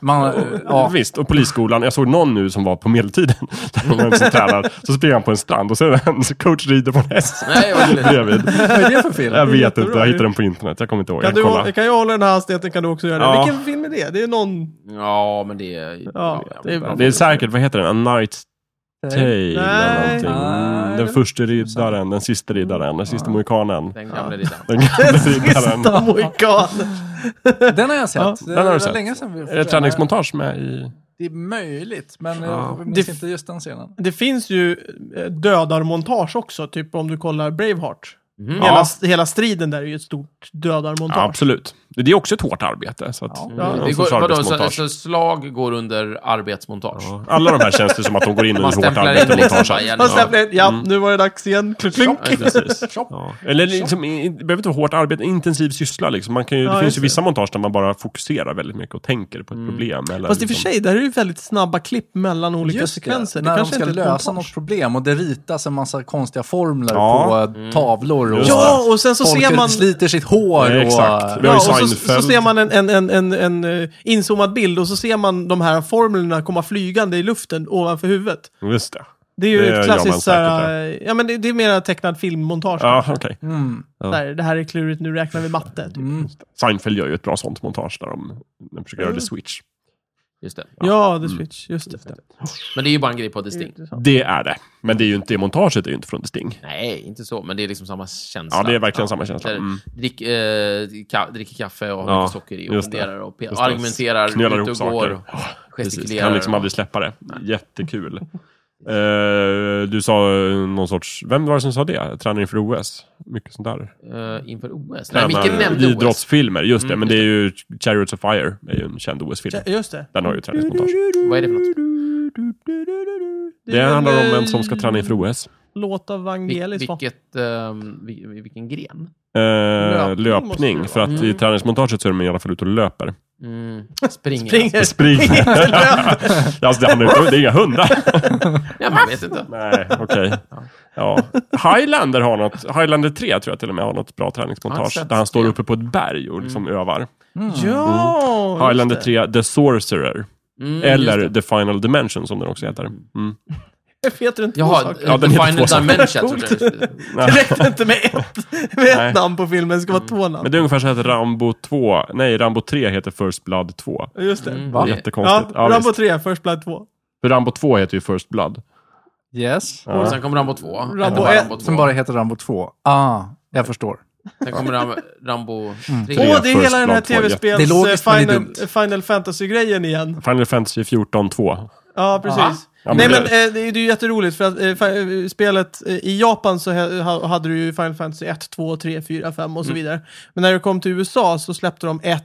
Speaker 4: Man, eh,
Speaker 3: Ja.
Speaker 4: ja.
Speaker 3: Visst, och polisskolan. Jag såg någon nu som var på medeltiden. Där någon som tränar. Så springer han på en strand och så är det en coach rider på en häst
Speaker 2: Nej, vad gulligt.
Speaker 3: bredvid.
Speaker 4: Vad är det för film?
Speaker 3: Jag vet
Speaker 1: jättebra.
Speaker 3: inte, jag hittade den på internet. Jag kommer inte ihåg.
Speaker 1: Kan,
Speaker 3: Jag
Speaker 1: du,
Speaker 3: kollar.
Speaker 1: hå- kan jag hålla den här hastigheten kan du också göra det.
Speaker 3: Ja.
Speaker 1: Vilken film är det? Det är någon...
Speaker 2: Ja, men det är...
Speaker 1: Ja, det är bra.
Speaker 3: Det är säkert, vad heter den? A Night's Tale
Speaker 1: Nej.
Speaker 3: eller någonting.
Speaker 4: Nej.
Speaker 3: Mm, den första riddaren, den sista riddaren, den sista mohikanen.
Speaker 2: Den gamla riddaren.
Speaker 3: Den gamla riddaren.
Speaker 1: Sista mohikanen.
Speaker 4: Den har jag sett.
Speaker 3: Ja,
Speaker 4: det
Speaker 3: den har du
Speaker 4: var
Speaker 3: sett.
Speaker 4: länge sedan vi
Speaker 3: Är det träningsmontage med i...
Speaker 4: Det är möjligt, men eh,
Speaker 3: Ja.
Speaker 4: jag minns
Speaker 1: Det-
Speaker 4: inte just den scenen.
Speaker 1: Det finns ju eh, dödarmontage också, typ om du kollar Braveheart.
Speaker 2: Mm.
Speaker 1: Hela,
Speaker 3: Ja.
Speaker 1: hela striden där är ju ett stort
Speaker 3: Ja,
Speaker 1: dödarmontage.
Speaker 3: absolut. Det är också ett hårt arbete. Så att,
Speaker 4: Ja.
Speaker 3: det är någon
Speaker 2: Det
Speaker 3: sorts
Speaker 2: går, vadå, så,
Speaker 3: arbetsmontage.
Speaker 2: så slag går under arbetsmontage?
Speaker 3: Ja. Alla de här känns det som att de går in i
Speaker 2: Man
Speaker 3: hårt
Speaker 2: stämplar in
Speaker 3: arbete och
Speaker 2: liksom
Speaker 3: montage.
Speaker 2: bara, ja, nu-
Speaker 1: Fast där blev- ja, nu var det dags igen. Klunk, klunk.
Speaker 2: Ja, precis.
Speaker 3: Ja. Eller liksom, i- i- det behöver inte vara hårt arbete, intensiv syssla liksom. Man kan ju,
Speaker 1: Ja,
Speaker 3: det
Speaker 1: just
Speaker 3: finns ju
Speaker 1: det.
Speaker 3: vissa montage där man bara fokuserar väldigt mycket och tänker på ett problem. Eller
Speaker 1: Fast i och för
Speaker 3: liksom,
Speaker 1: sig, där är det ju väldigt snabba klipp mellan olika sekvenser. Det
Speaker 4: när de
Speaker 1: kanske
Speaker 4: ska
Speaker 1: inte är ett
Speaker 4: lösa
Speaker 1: montage.
Speaker 4: något problem och det ritas en massa konstiga formler
Speaker 3: Ja.
Speaker 4: på eh, tavlor. Och
Speaker 1: Ja, och sen så
Speaker 4: folk
Speaker 1: ser man...
Speaker 4: sliter sitt hår.
Speaker 3: Ja, exakt.
Speaker 4: Och,
Speaker 3: Vi har
Speaker 1: Ja,
Speaker 3: ju
Speaker 1: och så, så
Speaker 3: Seinfeld.
Speaker 1: ser man en, en, en, en, en eh, inzoomad bild och så ser man de här formlerna komma flygande i luften ovanför huvudet.
Speaker 3: Just det.
Speaker 1: Det är ju
Speaker 3: Det
Speaker 1: ett
Speaker 3: gör man
Speaker 1: klassiskt så här,
Speaker 3: säkert,
Speaker 1: ja men det, det är mer tecknad filmmontage.
Speaker 3: Ja, okej.
Speaker 4: mm.
Speaker 1: Så här, det här är klurigt, nu räknar vi matte. Typ.
Speaker 2: Mm.
Speaker 3: Seinfeld gör ju ett bra sånt montage där de, de försöker göra det switch.
Speaker 2: Just det.
Speaker 1: Ja, The
Speaker 3: Mm.
Speaker 1: Switch, just det.
Speaker 2: Men det är ju bara en grej på
Speaker 1: Det är
Speaker 2: distinkt.
Speaker 1: intressant.
Speaker 3: Det är det. Men det är ju inte, det montaget är ju inte från The Sting.
Speaker 2: Nej, inte så, men det är liksom samma känsla.
Speaker 3: Ja, det är verkligen samma känsla.
Speaker 2: Där
Speaker 3: Mm.
Speaker 2: Drick, eh, ka, dricker kaffe och har
Speaker 3: Ja,
Speaker 2: mycket socker i och
Speaker 3: just det.
Speaker 2: funderar och pe-
Speaker 3: Just det.
Speaker 2: argumenterar,
Speaker 3: Knölar
Speaker 2: ut
Speaker 3: ihop
Speaker 2: och
Speaker 3: saker.
Speaker 2: går,
Speaker 3: Ja,
Speaker 2: och
Speaker 3: Precis.
Speaker 2: gestikulerar.
Speaker 3: Kan liksom aldrig släppa det. Jättekul. Eh, du sa eh, någon sorts, vem var det som sa det? Tränar inför OS? Mycket sånt där.
Speaker 2: Eh, inför OS. Nej,
Speaker 3: Tränar
Speaker 2: Micke nämnde Mm, OS.
Speaker 3: idrottsfilmer, just det. men det är ju Chariots of Fire, det är ju en känd OS-film.
Speaker 1: Ja, Just det.
Speaker 3: Den har ju träningsmontage.
Speaker 2: Vad är det för något?
Speaker 3: Det
Speaker 1: är
Speaker 3: handlar om
Speaker 1: eh,
Speaker 3: en som ska träna inför OS.
Speaker 1: Låt av
Speaker 2: Vil,
Speaker 1: Vangelis, va?
Speaker 2: vilket, ehm, vil, vilken gren?
Speaker 3: Eh,
Speaker 1: Löpning måste det
Speaker 3: löpning,
Speaker 1: vara.
Speaker 3: för att i träningsmontaget så är de i alla fall ute och löper.
Speaker 2: Mm, springer.
Speaker 1: Springer.
Speaker 3: Springer. alltså, det, handlar ju inte- det är inga hundar.
Speaker 2: Ja, man vet inte.
Speaker 3: Nej, okej. Ja. Highlander har något, Highlander 3 tror jag till och med har något bra
Speaker 2: Har
Speaker 3: träningsmontage.
Speaker 2: jag sett
Speaker 3: Där han står
Speaker 2: det? Mm.
Speaker 3: uppe på ett berg och liksom övar.
Speaker 1: Ja! just
Speaker 3: Mm. Highlander
Speaker 1: det.
Speaker 3: 3, The Sorcerer.
Speaker 2: Mm, just
Speaker 3: Eller
Speaker 2: det.
Speaker 3: The Final Dimension som den också heter. Mm.
Speaker 1: Jag vet inte två
Speaker 2: Jaha,
Speaker 1: saker.
Speaker 3: Ja,
Speaker 2: ja, The
Speaker 3: den heter
Speaker 2: Final
Speaker 3: två saker.
Speaker 2: Dimension. tror jag det är.
Speaker 1: Det räckte inte med ett, med
Speaker 3: Nej.
Speaker 1: ett namn på filmen, det ska vara två namn.
Speaker 3: Men det är ungefär så här att Rambo 2, nej Rambo 3 heter First Blood 2.
Speaker 1: Just det.
Speaker 2: Mm,
Speaker 4: Va?
Speaker 2: det-
Speaker 1: Ja,
Speaker 3: Jättekonstigt. Ja,
Speaker 1: Rambo
Speaker 3: visst.
Speaker 1: 3, First Blood 2.
Speaker 3: För Rambo 2 heter ju First Blood.
Speaker 4: Yes.
Speaker 2: Och sen kom Rambo 2.
Speaker 1: Rambo
Speaker 2: Ett var
Speaker 1: ett,
Speaker 2: Rambo 2.
Speaker 4: Som bara heter Rambo 2. Ah, jag förstår.
Speaker 2: Sen kommer Ram- Rambo
Speaker 1: Åh,
Speaker 2: 3.
Speaker 3: Mm. Tre
Speaker 1: det är
Speaker 3: First
Speaker 1: hela den här
Speaker 3: Blood två,
Speaker 1: tv-spels...
Speaker 4: Det är logiskt,
Speaker 1: eh,
Speaker 4: men det
Speaker 1: Final,
Speaker 4: är
Speaker 1: Final Fantasy-grejen igen.
Speaker 3: Final Fantasy 14 2.
Speaker 1: Ja, precis.
Speaker 3: Ja, men
Speaker 1: Nej, men
Speaker 3: det-
Speaker 1: eh, det, det är ju jätteroligt för att eh, fa- eh, spelet eh, i Japan så he- ha- hade du ju Final Fantasy 1, 2, 3, 4, 5 och så vidare. Men när du kom till USA så släppte de 1,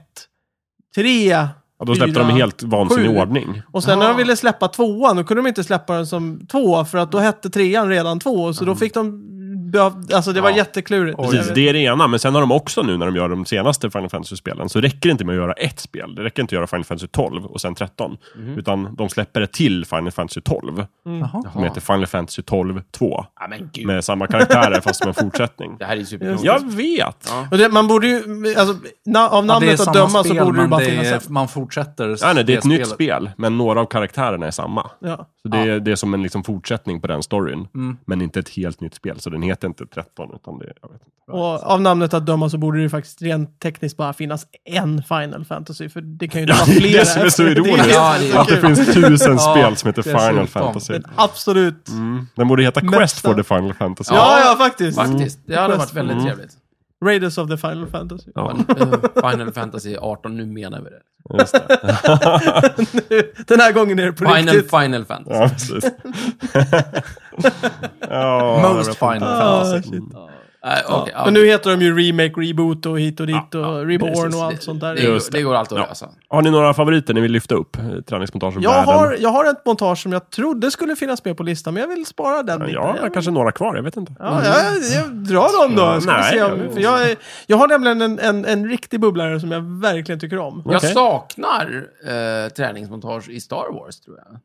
Speaker 1: 3,
Speaker 3: Ja, då släppte
Speaker 1: Fyra,
Speaker 3: de i helt vansinnig
Speaker 1: sju.
Speaker 3: ordning.
Speaker 1: och sen när de ville släppa tvåan, då kunde de inte släppa den som två, för att då hette trean redan två, så då fick de... behöv- Alltså det var
Speaker 2: Ja.
Speaker 1: jätteklurigt.
Speaker 3: Precis, det är det ena. Men sen har de också nu när de gör de senaste Final Fantasy-spelen, så räcker det inte med att göra ett spel. Det räcker inte att göra Final Fantasy 12 och sen 13. Utan de släpper ett till Final Fantasy 12,
Speaker 4: Jaha.
Speaker 3: som heter Final Fantasy 12 2.
Speaker 2: Ja, men Ah, gud.
Speaker 3: Med samma karaktärer fast som en fortsättning.
Speaker 2: Det här är ju superkrångligt.
Speaker 3: Jag vet!
Speaker 2: Ja.
Speaker 1: Och det, man borde ju, alltså, na, av
Speaker 4: Ja, det är
Speaker 1: namnet att
Speaker 4: samma
Speaker 1: döma
Speaker 4: spel,
Speaker 1: så borde det
Speaker 4: men
Speaker 1: bara
Speaker 4: det
Speaker 1: finnas
Speaker 4: är,
Speaker 1: ett.
Speaker 4: Man fortsätter
Speaker 3: Ja, nej, det är ett
Speaker 4: det
Speaker 3: nytt
Speaker 4: spelet.
Speaker 3: spel, men några av karaktärerna är samma.
Speaker 1: Ja.
Speaker 3: Så det, är, det är som en liksom fortsättning på den storyn, men inte ett helt nytt spel. Så den heter inte 13, utan det jag vet inte.
Speaker 1: Och av namnet att döma så borde det ju faktiskt rent tekniskt bara finnas en Final Fantasy, för det kan ju inte
Speaker 3: Ja,
Speaker 1: vara
Speaker 3: det är
Speaker 1: flera.
Speaker 3: det som är så ironiskt.
Speaker 2: Ja, det är-
Speaker 3: Att det finns tusen
Speaker 4: Ja,
Speaker 3: spel som heter
Speaker 4: dessutom.
Speaker 3: Final Fantasy.
Speaker 1: Men absolut.
Speaker 3: Mm. Den borde heta
Speaker 1: Mästa.
Speaker 3: Quest for the Final Fantasy.
Speaker 1: Ja, ja, faktiskt.
Speaker 2: Faktiskt. Det hade varit
Speaker 1: Quest.
Speaker 2: väldigt
Speaker 3: Mm.
Speaker 2: trevligt.
Speaker 1: Raiders of the Final Fantasy.
Speaker 2: Eh, Final Fantasy 18, nu menar vi det.
Speaker 3: Just det.
Speaker 1: Den här gången är det på
Speaker 2: Final,
Speaker 1: riktigt.
Speaker 2: Final Fantasy.
Speaker 3: ja precis. Ja, jag vet
Speaker 4: Most
Speaker 3: inte.
Speaker 4: Final
Speaker 1: Ah,
Speaker 4: Fantasy.
Speaker 3: Mm.
Speaker 1: shit.
Speaker 2: Nej, okej, ja.
Speaker 1: Men nu heter de ju Remake, Reboot och hit och dit och Reborn
Speaker 3: precis.
Speaker 1: och allt sånt
Speaker 2: det,
Speaker 1: där.
Speaker 2: går-
Speaker 3: Just det.
Speaker 2: det går alltid
Speaker 3: Ja.
Speaker 2: att lösa.
Speaker 3: Har ni några favoriter ni vill lyfta upp? eh, Träningsmontage och
Speaker 1: Jag
Speaker 3: världen?
Speaker 1: har, jag har ett montage som jag trodde skulle finnas med på listan, men jag vill spara den
Speaker 3: Ja,
Speaker 1: biten.
Speaker 3: jag har kanske några kvar, jag vet inte.
Speaker 1: Ja, jag, jag drar dem då. Ska vi
Speaker 3: Nej,
Speaker 1: se om,
Speaker 3: jag-
Speaker 1: för jag, är- jag har nämligen en, en, en riktig bubblare som jag verkligen tycker om.
Speaker 2: Jag
Speaker 3: Okej.
Speaker 2: saknar eh, träningsmontage i Star Wars, tror jag.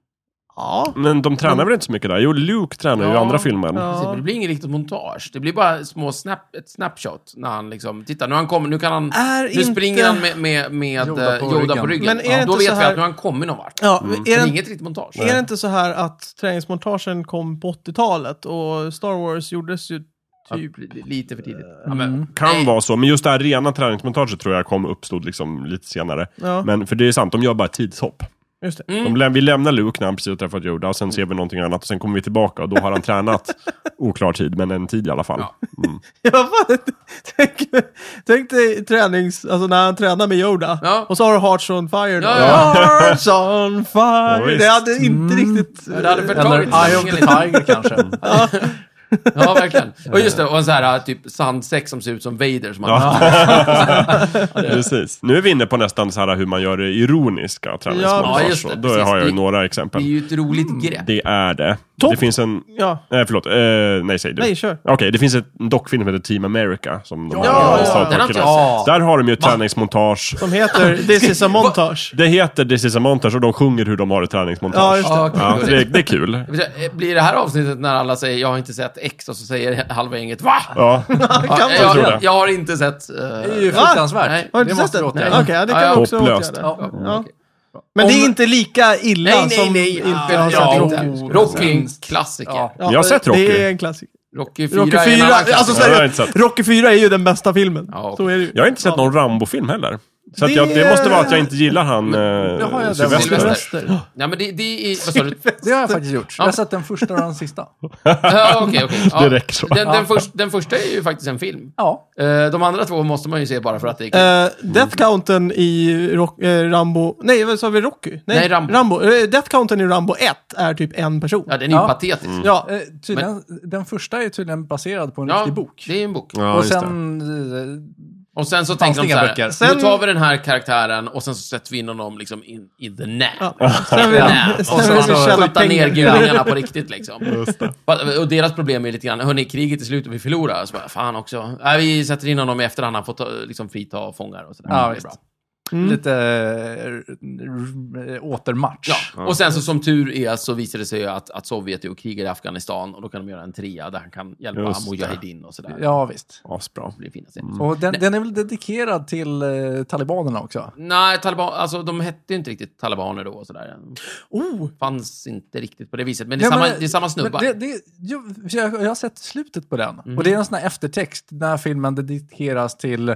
Speaker 1: Ja.
Speaker 3: Men de tränar väl inte så mycket där? Jo, Luke tränar ju i
Speaker 2: Ja,
Speaker 3: andra filmen.
Speaker 1: ja.
Speaker 2: Det blir inget riktigt montage. Det blir bara små snap, ett snapshot när han liksom, titta nu har han kommer, nu kan han,
Speaker 1: Är
Speaker 2: nu
Speaker 1: inte-
Speaker 2: springer han med, med, med
Speaker 4: Yoda
Speaker 2: Yoda,
Speaker 4: på
Speaker 2: på, Yoda
Speaker 4: ryggen.
Speaker 2: på ryggen.
Speaker 1: Men är det inte
Speaker 2: Då vet
Speaker 1: så
Speaker 2: vi
Speaker 1: här-
Speaker 2: att nu har han kommit någon vart.
Speaker 1: Ja, är,
Speaker 2: Mm. Men
Speaker 1: det,
Speaker 2: inget riktigt montage.
Speaker 1: är det inte så här att träningsmontagen kom på 80-talet och Star Wars gjordes ju typ...
Speaker 2: Ja, lite för tidigt. Ja,
Speaker 4: Mm.
Speaker 2: men,
Speaker 3: Kan
Speaker 2: nej.
Speaker 3: vara så, men just det här rena träningsmontaget tror jag kom uppstod liksom lite senare.
Speaker 1: Ja, Mm.
Speaker 3: Men för det är sant, de gör bara ett tidshopp.
Speaker 1: just det.
Speaker 2: Mm.
Speaker 3: De lä- vi lämnar Luke när han precis har träffat Yoda, och
Speaker 1: Mm.
Speaker 3: sen ser vi någonting annat och sen kommer vi tillbaka och då har han tränat oklar tid, men en tid i alla fall. Mm.
Speaker 1: Ja, fan, tänk, tänk dig tränings... Alltså när han tränar med Yoda.
Speaker 2: Ja.
Speaker 1: Och så har du Hearts on Fire. då.
Speaker 2: Ja, ja. Mm.
Speaker 1: Hearts on
Speaker 3: Ja,
Speaker 1: fire!
Speaker 3: visst.
Speaker 1: det hade inte riktigt...
Speaker 2: det hade förtagit
Speaker 4: Eller Eye of
Speaker 2: stämningen
Speaker 4: the
Speaker 2: lite.
Speaker 4: Tiger kanske.
Speaker 2: Ja, verkligen. Och just det, och en sån här typ sandsäck som ser ut som Vader. Som han,
Speaker 3: Precis. Nu är vi inne på nästan så här hur man gör det ironiska
Speaker 1: Ja,
Speaker 3: träningsmontage.
Speaker 2: just det.
Speaker 3: Ja, Alltså, då
Speaker 2: Precis.
Speaker 3: har jag ju
Speaker 2: Det-
Speaker 3: några
Speaker 2: Det är
Speaker 3: exempel.
Speaker 2: ju ett roligt
Speaker 1: Mm.
Speaker 2: grepp.
Speaker 3: Det är det.
Speaker 1: Topp.
Speaker 3: Det finns en...
Speaker 1: Ja,
Speaker 3: Nej, förlåt. Eh, nej, säg du.
Speaker 1: nej, kör.
Speaker 3: Okej, det finns ett- en dockfilm som heter Team America. Som de
Speaker 4: Ja,
Speaker 3: här
Speaker 1: ja, den
Speaker 3: South
Speaker 2: har
Speaker 3: Park-killarna-
Speaker 2: inte jag
Speaker 3: Där har de ju ett träningsmontage.
Speaker 1: Som heter This is a montage.
Speaker 3: Det heter This is a montage och de sjunger hur de har ett
Speaker 1: Ja,
Speaker 3: träningsmontage.
Speaker 1: just
Speaker 2: Ja,
Speaker 1: det.
Speaker 2: okej,
Speaker 3: Ja,
Speaker 2: då är
Speaker 3: så det,
Speaker 2: det.
Speaker 3: det är kul.
Speaker 2: Jag vill säga, Blir det här avsnittet när alla säger jag har inte sett X och så säger halva gänget VA?
Speaker 3: Ja,
Speaker 1: Kan man-
Speaker 2: Ja, jag,
Speaker 3: tror det.
Speaker 2: jag, jag har inte sett... eh,
Speaker 4: Det är ju
Speaker 1: Va?
Speaker 4: fruktansvärt.
Speaker 2: Nej.
Speaker 1: Har du
Speaker 4: det
Speaker 1: inte sett
Speaker 4: måste
Speaker 1: den?
Speaker 4: vi
Speaker 1: Okej,
Speaker 4: åtgärda.
Speaker 1: ja, det
Speaker 2: Ja,
Speaker 1: kan
Speaker 2: ja.
Speaker 1: vi också
Speaker 3: Hopplöst.
Speaker 1: åtgärda.
Speaker 4: Ja.
Speaker 1: Ja. Men det är inte lika illa
Speaker 2: Nej, nej,
Speaker 1: som
Speaker 2: nej.
Speaker 1: inte har
Speaker 2: ja,
Speaker 1: sett
Speaker 2: ja,
Speaker 1: Rocky.
Speaker 2: inte. Rocky är en klassiker.
Speaker 4: Ja.
Speaker 1: Ja,
Speaker 3: Jag har sett Rocky.
Speaker 1: Det är en klassiker.
Speaker 2: Rocky 4
Speaker 1: Rocky
Speaker 2: är en
Speaker 1: 4,
Speaker 2: annan klassiker.
Speaker 1: alltså,
Speaker 3: Ja, det har jag inte sett.
Speaker 1: Rocky 4 är ju den bästa filmen.
Speaker 2: Ja, okej.
Speaker 1: Så är det ju.
Speaker 3: Jag har inte sett någon Rambo-film heller. Så att jag,
Speaker 1: Det-
Speaker 3: det måste vara att jag inte gillar han eh,
Speaker 4: har jag den.
Speaker 3: Sylvester.
Speaker 2: Sylvester.
Speaker 4: Sylvester.
Speaker 2: Nej, men det, det är... Vad sa du?
Speaker 4: Det har jag faktiskt gjort. Jag har sett den första och den sista.
Speaker 2: Ja, Okej, okej. Ja.
Speaker 3: Det räcker så.
Speaker 2: Den, den, först, den första är ju faktiskt en film.
Speaker 4: Ja.
Speaker 2: Eh, De andra två måste man ju se bara för att det är kul.
Speaker 1: Eh, Death Counten i Rock, eh, Rambo... Nej, vad sa vi? Rocky? Nej,
Speaker 2: Nej, Rambo.
Speaker 1: Eh, Death Counten i Rambo 1 är typ en person.
Speaker 2: Ja, den är ju
Speaker 4: ja.
Speaker 2: patetisk.
Speaker 1: Ja, Mm.
Speaker 4: Eh, tydligen, Den första är tydligen baserad på en
Speaker 2: Ja,
Speaker 4: riktig bok.
Speaker 2: det är ju en bok.
Speaker 3: Ja,
Speaker 4: och
Speaker 3: just det.
Speaker 4: sen... eh,
Speaker 2: Och sen så
Speaker 4: Fanns
Speaker 2: tänkte de
Speaker 4: det
Speaker 2: så
Speaker 4: inga
Speaker 2: här,
Speaker 4: böcker?
Speaker 2: nu
Speaker 1: Sen-
Speaker 2: tar vi den här karaktären och sen så sätter vi in honom liksom in, in the nap.
Speaker 1: ja. Sen vill,
Speaker 2: Nap.
Speaker 1: sen
Speaker 2: Och
Speaker 1: vill
Speaker 2: sen
Speaker 1: vi
Speaker 2: så
Speaker 1: tjäna
Speaker 2: skjuta ner
Speaker 1: pengar.
Speaker 2: gudarna på riktigt liksom. Fast- Och deras problem är lite grann, hörni, kriget är slut och vi förlorar. Så bara, fan också. Nej, vi sätter in honom i efterhand, han får ta, liksom, frita fångar och sådär.
Speaker 4: Ja,
Speaker 2: det är
Speaker 4: visst.
Speaker 2: bra.
Speaker 4: Lite eh, r- r- återmatch.
Speaker 2: Ja. Och sen så som tur är så visar det sig ju att, att Sovjet är och krigar i Afghanistan och då kan de göra en trea där han kan hjälpa
Speaker 3: Just det.
Speaker 2: Mujahedin och sådär.
Speaker 4: Ja, Mm. visst.
Speaker 3: Asbra.
Speaker 2: Det blir fina scener.
Speaker 4: Och den, den är väl dedikerad till eh, talibanerna också?
Speaker 2: Nej, taliban, alltså de hette ju inte riktigt talibaner då och sådär.
Speaker 1: Oh,
Speaker 2: Fanns inte riktigt på det viset. Men det är,
Speaker 4: Ja,
Speaker 2: samma,
Speaker 4: men-
Speaker 2: det är samma snubbar. Mm.
Speaker 4: men Det, det, jo, för jag, jag har sett slutet på den. Och det är en sån här eftertext när filmen dedikeras till eh,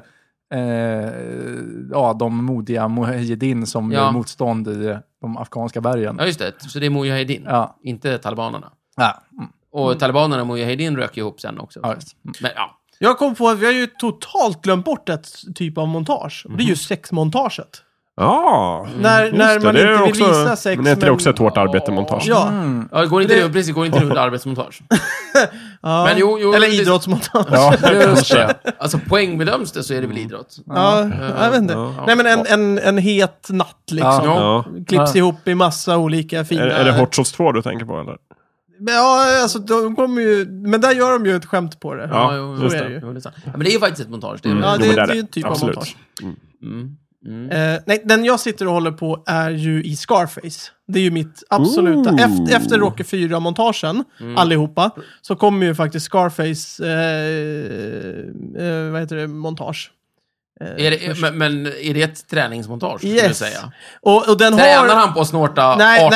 Speaker 4: ja, de modiga Mujahedin som
Speaker 2: Ja.
Speaker 4: gör motstånd i de afghanska bergen.
Speaker 2: Ja, just det. Så det är Mujahedin,
Speaker 4: Ja.
Speaker 2: inte talibanerna.
Speaker 4: Ja. Mm.
Speaker 2: Och talibanerna och Mujahedin rök ihop sen också.
Speaker 4: Ja, just.
Speaker 2: Men ja,
Speaker 1: Jag kom på att vi har ju totalt glömt bort ett typ av montage. Och Det är ju sexmontaget.
Speaker 3: Ja.
Speaker 1: När, när
Speaker 3: Mhm. Mm. Just
Speaker 1: man
Speaker 3: det, det är
Speaker 1: inte vill
Speaker 3: också,
Speaker 1: visa sex.
Speaker 3: Men heter det också ett hårt arbete-montage?
Speaker 1: Ja.
Speaker 2: Ja, går inte
Speaker 1: Mm. Det-
Speaker 2: det, precis, går inte det under arbetsmontage?
Speaker 1: ja.
Speaker 2: Men jo, jo,
Speaker 1: Eller
Speaker 2: precis.
Speaker 1: idrottsmontage. Ja.
Speaker 3: Ja.
Speaker 2: Just det. Alltså poängbedöms det så är det
Speaker 1: Mm.
Speaker 2: väl idrott?
Speaker 1: jag vet inte.
Speaker 3: Ja.
Speaker 1: Nej men en, en, en het natt liksom.
Speaker 2: Ja.
Speaker 3: ja.
Speaker 1: Klipps
Speaker 4: Ja.
Speaker 1: ihop i massa olika fina...
Speaker 3: Är, är det Hotshot 2 du tänker på eller?
Speaker 1: Men, ja, alltså de kommer ju... Men där gör de ju ett skämt på det.
Speaker 3: Ja,
Speaker 2: jo,
Speaker 1: just
Speaker 2: jo,
Speaker 1: det. Mm.
Speaker 2: Jo, det är sant. Ja, men det är ju faktiskt ett montage. Det är
Speaker 1: Ja,
Speaker 2: väl-
Speaker 1: det,
Speaker 3: Jo, men
Speaker 1: det
Speaker 3: där
Speaker 1: är
Speaker 3: är
Speaker 1: ju en
Speaker 3: det.
Speaker 1: typ
Speaker 3: Absolut.
Speaker 1: av montage.
Speaker 2: Mm. Mm.
Speaker 1: Eh, nej, den jag sitter och håller på är ju i Scarface. Det är ju mitt absoluta...
Speaker 3: Ooh.
Speaker 1: Efter, efter Rocky 4-montagen,
Speaker 2: Mm.
Speaker 1: allihopa, så kommer ju faktiskt Scarface... Eh, eh, vad heter det? Montage. Eh,
Speaker 2: Är det,
Speaker 1: först.
Speaker 2: men, men är det ett träningsmontage, skulle
Speaker 1: Yes.
Speaker 2: du säga?
Speaker 1: och, och den har...
Speaker 2: Tränar han på att snorta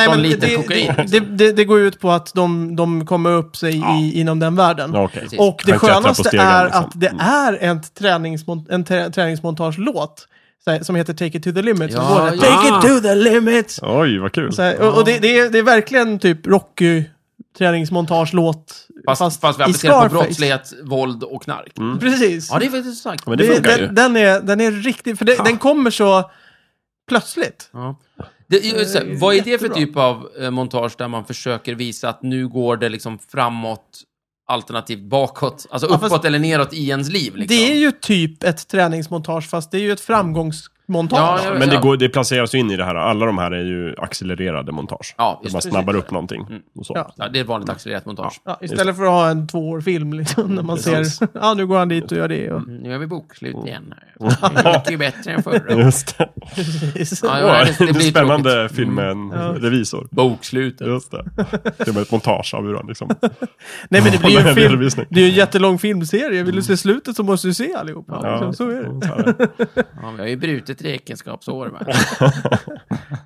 Speaker 2: 18 liter
Speaker 1: det,
Speaker 2: kokain?
Speaker 1: det, det, det, det går ju ut på att de, de kommer upp sig i, inom den världen.
Speaker 3: Ja, okej.
Speaker 2: Precis.
Speaker 1: Och det
Speaker 3: Han klättrar på
Speaker 1: skönaste
Speaker 3: stegen,
Speaker 1: är
Speaker 3: liksom.
Speaker 1: att det är ett träningsmon- en trä- träningsmontagelåt så här, som heter Take It To The Limit.
Speaker 2: Ja,
Speaker 1: Så går det,
Speaker 2: ja.
Speaker 1: Take It To The Limit!
Speaker 3: Oj, vad kul.
Speaker 1: Så här, och och det, det, är, det är verkligen typ Rocky träningsmontagelåt
Speaker 2: Fast, fast,
Speaker 1: i
Speaker 2: vi applicerar på
Speaker 1: Scarface. Mm.
Speaker 2: brottslighet, våld och knark.
Speaker 1: Precis.
Speaker 2: Ja, det är faktiskt sant.
Speaker 3: Men det
Speaker 1: det
Speaker 3: funkar ju. Ah.
Speaker 1: den, den, är, den är riktigt, för det, den kommer så plötsligt.
Speaker 2: Ja. Det, just, det. vad är det för
Speaker 1: Jättebra.
Speaker 2: typ av eh, montage där man försöker visa att nu går det liksom framåt alternativt bakåt? Alltså
Speaker 1: Ja,
Speaker 2: uppåt
Speaker 1: fast-
Speaker 2: eller neråt i ens liv? Liksom.
Speaker 1: Det är ju typ ett träningsmontage, fast det är ju ett framgångsmontage.
Speaker 2: Ja, jag vet.
Speaker 3: Men det, går, det placeras ju in i det här. Alla de här är ju accelererade montage.
Speaker 2: Ja,
Speaker 3: Där
Speaker 2: just
Speaker 3: man
Speaker 2: det.
Speaker 3: snabbar upp någonting. Och så.
Speaker 1: Mm. Ja.
Speaker 2: Ja, det är ett vanligt accelererat montage.
Speaker 1: Ja, istället för att ha en tvåårfilm liksom, när man
Speaker 3: Precis.
Speaker 1: ser, ja nu går han dit och gör det. Och...
Speaker 2: Mm, Nu är vi bokslut igen. här. Det gick ju bättre än förra.
Speaker 3: Just det.
Speaker 2: Ja,
Speaker 3: Ja,
Speaker 2: ja,
Speaker 3: det, är
Speaker 2: blir
Speaker 3: spännande
Speaker 2: tråkigt.
Speaker 3: film med
Speaker 1: Mm.
Speaker 3: en revisor.
Speaker 2: Bokslutet.
Speaker 3: Just det. Det är ett montage av hur han liksom...
Speaker 1: Nej men det blir ju
Speaker 3: Håller
Speaker 1: en
Speaker 3: en
Speaker 1: film,
Speaker 3: redovisning.
Speaker 1: det är ju en jättelång filmserie. Vill du se slutet så måste du se allihopa.
Speaker 3: Ja.
Speaker 1: Liksom, så är det.
Speaker 3: Så här.
Speaker 2: Ja, vi har ju brutit räkenskapsår. Va?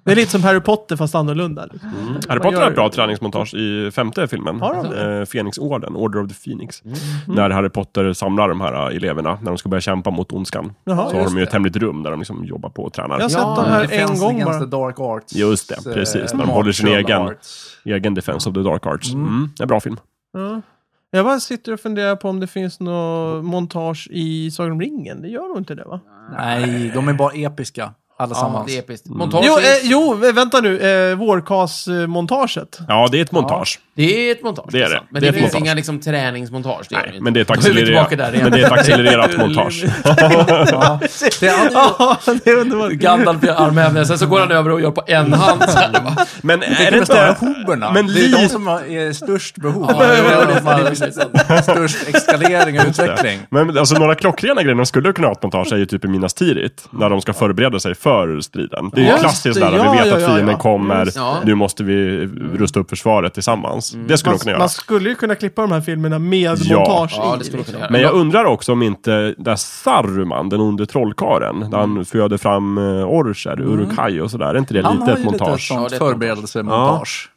Speaker 1: Det är lite som Harry Potter fast annorlunda. Liksom.
Speaker 3: Harry
Speaker 1: Vad
Speaker 3: Potter har
Speaker 1: gör
Speaker 3: ett bra
Speaker 1: du?
Speaker 3: träningsmontage i femte filmen.
Speaker 1: Har de
Speaker 3: eh, Fenixorden, Order of the Phoenix. När Harry Potter samlar de här eh, eleverna, när de ska börja kämpa mot ondskan.
Speaker 1: Jaha,
Speaker 3: så har
Speaker 1: just
Speaker 3: de ju ett hemligt rum där de liksom jobbar på och tränar.
Speaker 1: Jag har sett
Speaker 2: Ja,
Speaker 1: de
Speaker 4: Det
Speaker 1: här en
Speaker 4: finns
Speaker 1: gång
Speaker 4: Against
Speaker 1: bara.
Speaker 4: the Dark Arts.
Speaker 3: Just det, precis.
Speaker 4: eh,
Speaker 3: När de håller sin
Speaker 4: martial
Speaker 3: egen-
Speaker 4: arts.
Speaker 3: Egen Defense of the Dark Arts. Mm. En bra film.
Speaker 1: Ja. Jag bara sitter och funderar på om det finns något montage i Sagan om ringen. Det gör nog inte det va?
Speaker 4: Nej, de är bara episka
Speaker 2: Ja,
Speaker 4: allesammans.
Speaker 2: det är episkt. Montage,
Speaker 1: Jo, eh,
Speaker 2: är-
Speaker 1: jo vänta nu. Eh, Vårkas-montaget.
Speaker 3: Ja, det är ett montage.
Speaker 2: det är ett montage.
Speaker 3: Det är det.
Speaker 2: sant. Men
Speaker 3: Det
Speaker 2: det,
Speaker 3: är ett
Speaker 2: finns
Speaker 3: montage.
Speaker 2: inga liksom, träningsmontage. Det gör
Speaker 3: Nej,
Speaker 2: inte.
Speaker 3: men det är ett
Speaker 2: Då vi
Speaker 3: accelererat,
Speaker 2: tillbaka där igen.
Speaker 3: men det är ett accelererat montage.
Speaker 4: Ja. Det är alltid-
Speaker 1: Ja, det är underbart.
Speaker 2: Gandalf gör armhävningar, sen så går han över och gör på en hand. Så här, va?
Speaker 3: Men är
Speaker 4: Tänk
Speaker 3: det
Speaker 4: om det är
Speaker 3: inte...
Speaker 4: hoberna.
Speaker 3: Men
Speaker 4: det är de
Speaker 3: lite-
Speaker 4: som har är störst behov.
Speaker 2: Ja,
Speaker 4: det är
Speaker 2: jo,
Speaker 4: de som har störst eskalering och utveckling.
Speaker 3: Men alltså några klockrena grejer de skulle kunna ha ett montage är ju typ i Minas Tirith. När de ska förbereda sig för striden. Det är ju
Speaker 1: Just
Speaker 3: klassiskt
Speaker 1: det,
Speaker 3: där,
Speaker 1: ja,
Speaker 3: vi vet
Speaker 1: ja,
Speaker 3: att
Speaker 1: ja,
Speaker 3: fienden
Speaker 1: ja.
Speaker 3: kommer,
Speaker 2: Just det.
Speaker 3: nu måste vi rusta upp försvaret tillsammans. Det skulle
Speaker 1: Man,
Speaker 3: de kunna göra.
Speaker 1: man skulle ju kunna klippa de här filmerna med
Speaker 3: Ja.
Speaker 1: montage
Speaker 2: Ja,
Speaker 1: i.
Speaker 2: det skulle man kunna göra.
Speaker 3: Men jag undrar också om inte där Saruman, den onde trollkaren, där han föder fram eh, orcher, Uruk-hai och sådär. Är inte det
Speaker 4: Han
Speaker 3: lite
Speaker 4: har
Speaker 3: ett
Speaker 4: ju lite ett
Speaker 3: montage?
Speaker 2: Ja,
Speaker 4: sånt
Speaker 2: det är ett
Speaker 4: förberedelsemontage.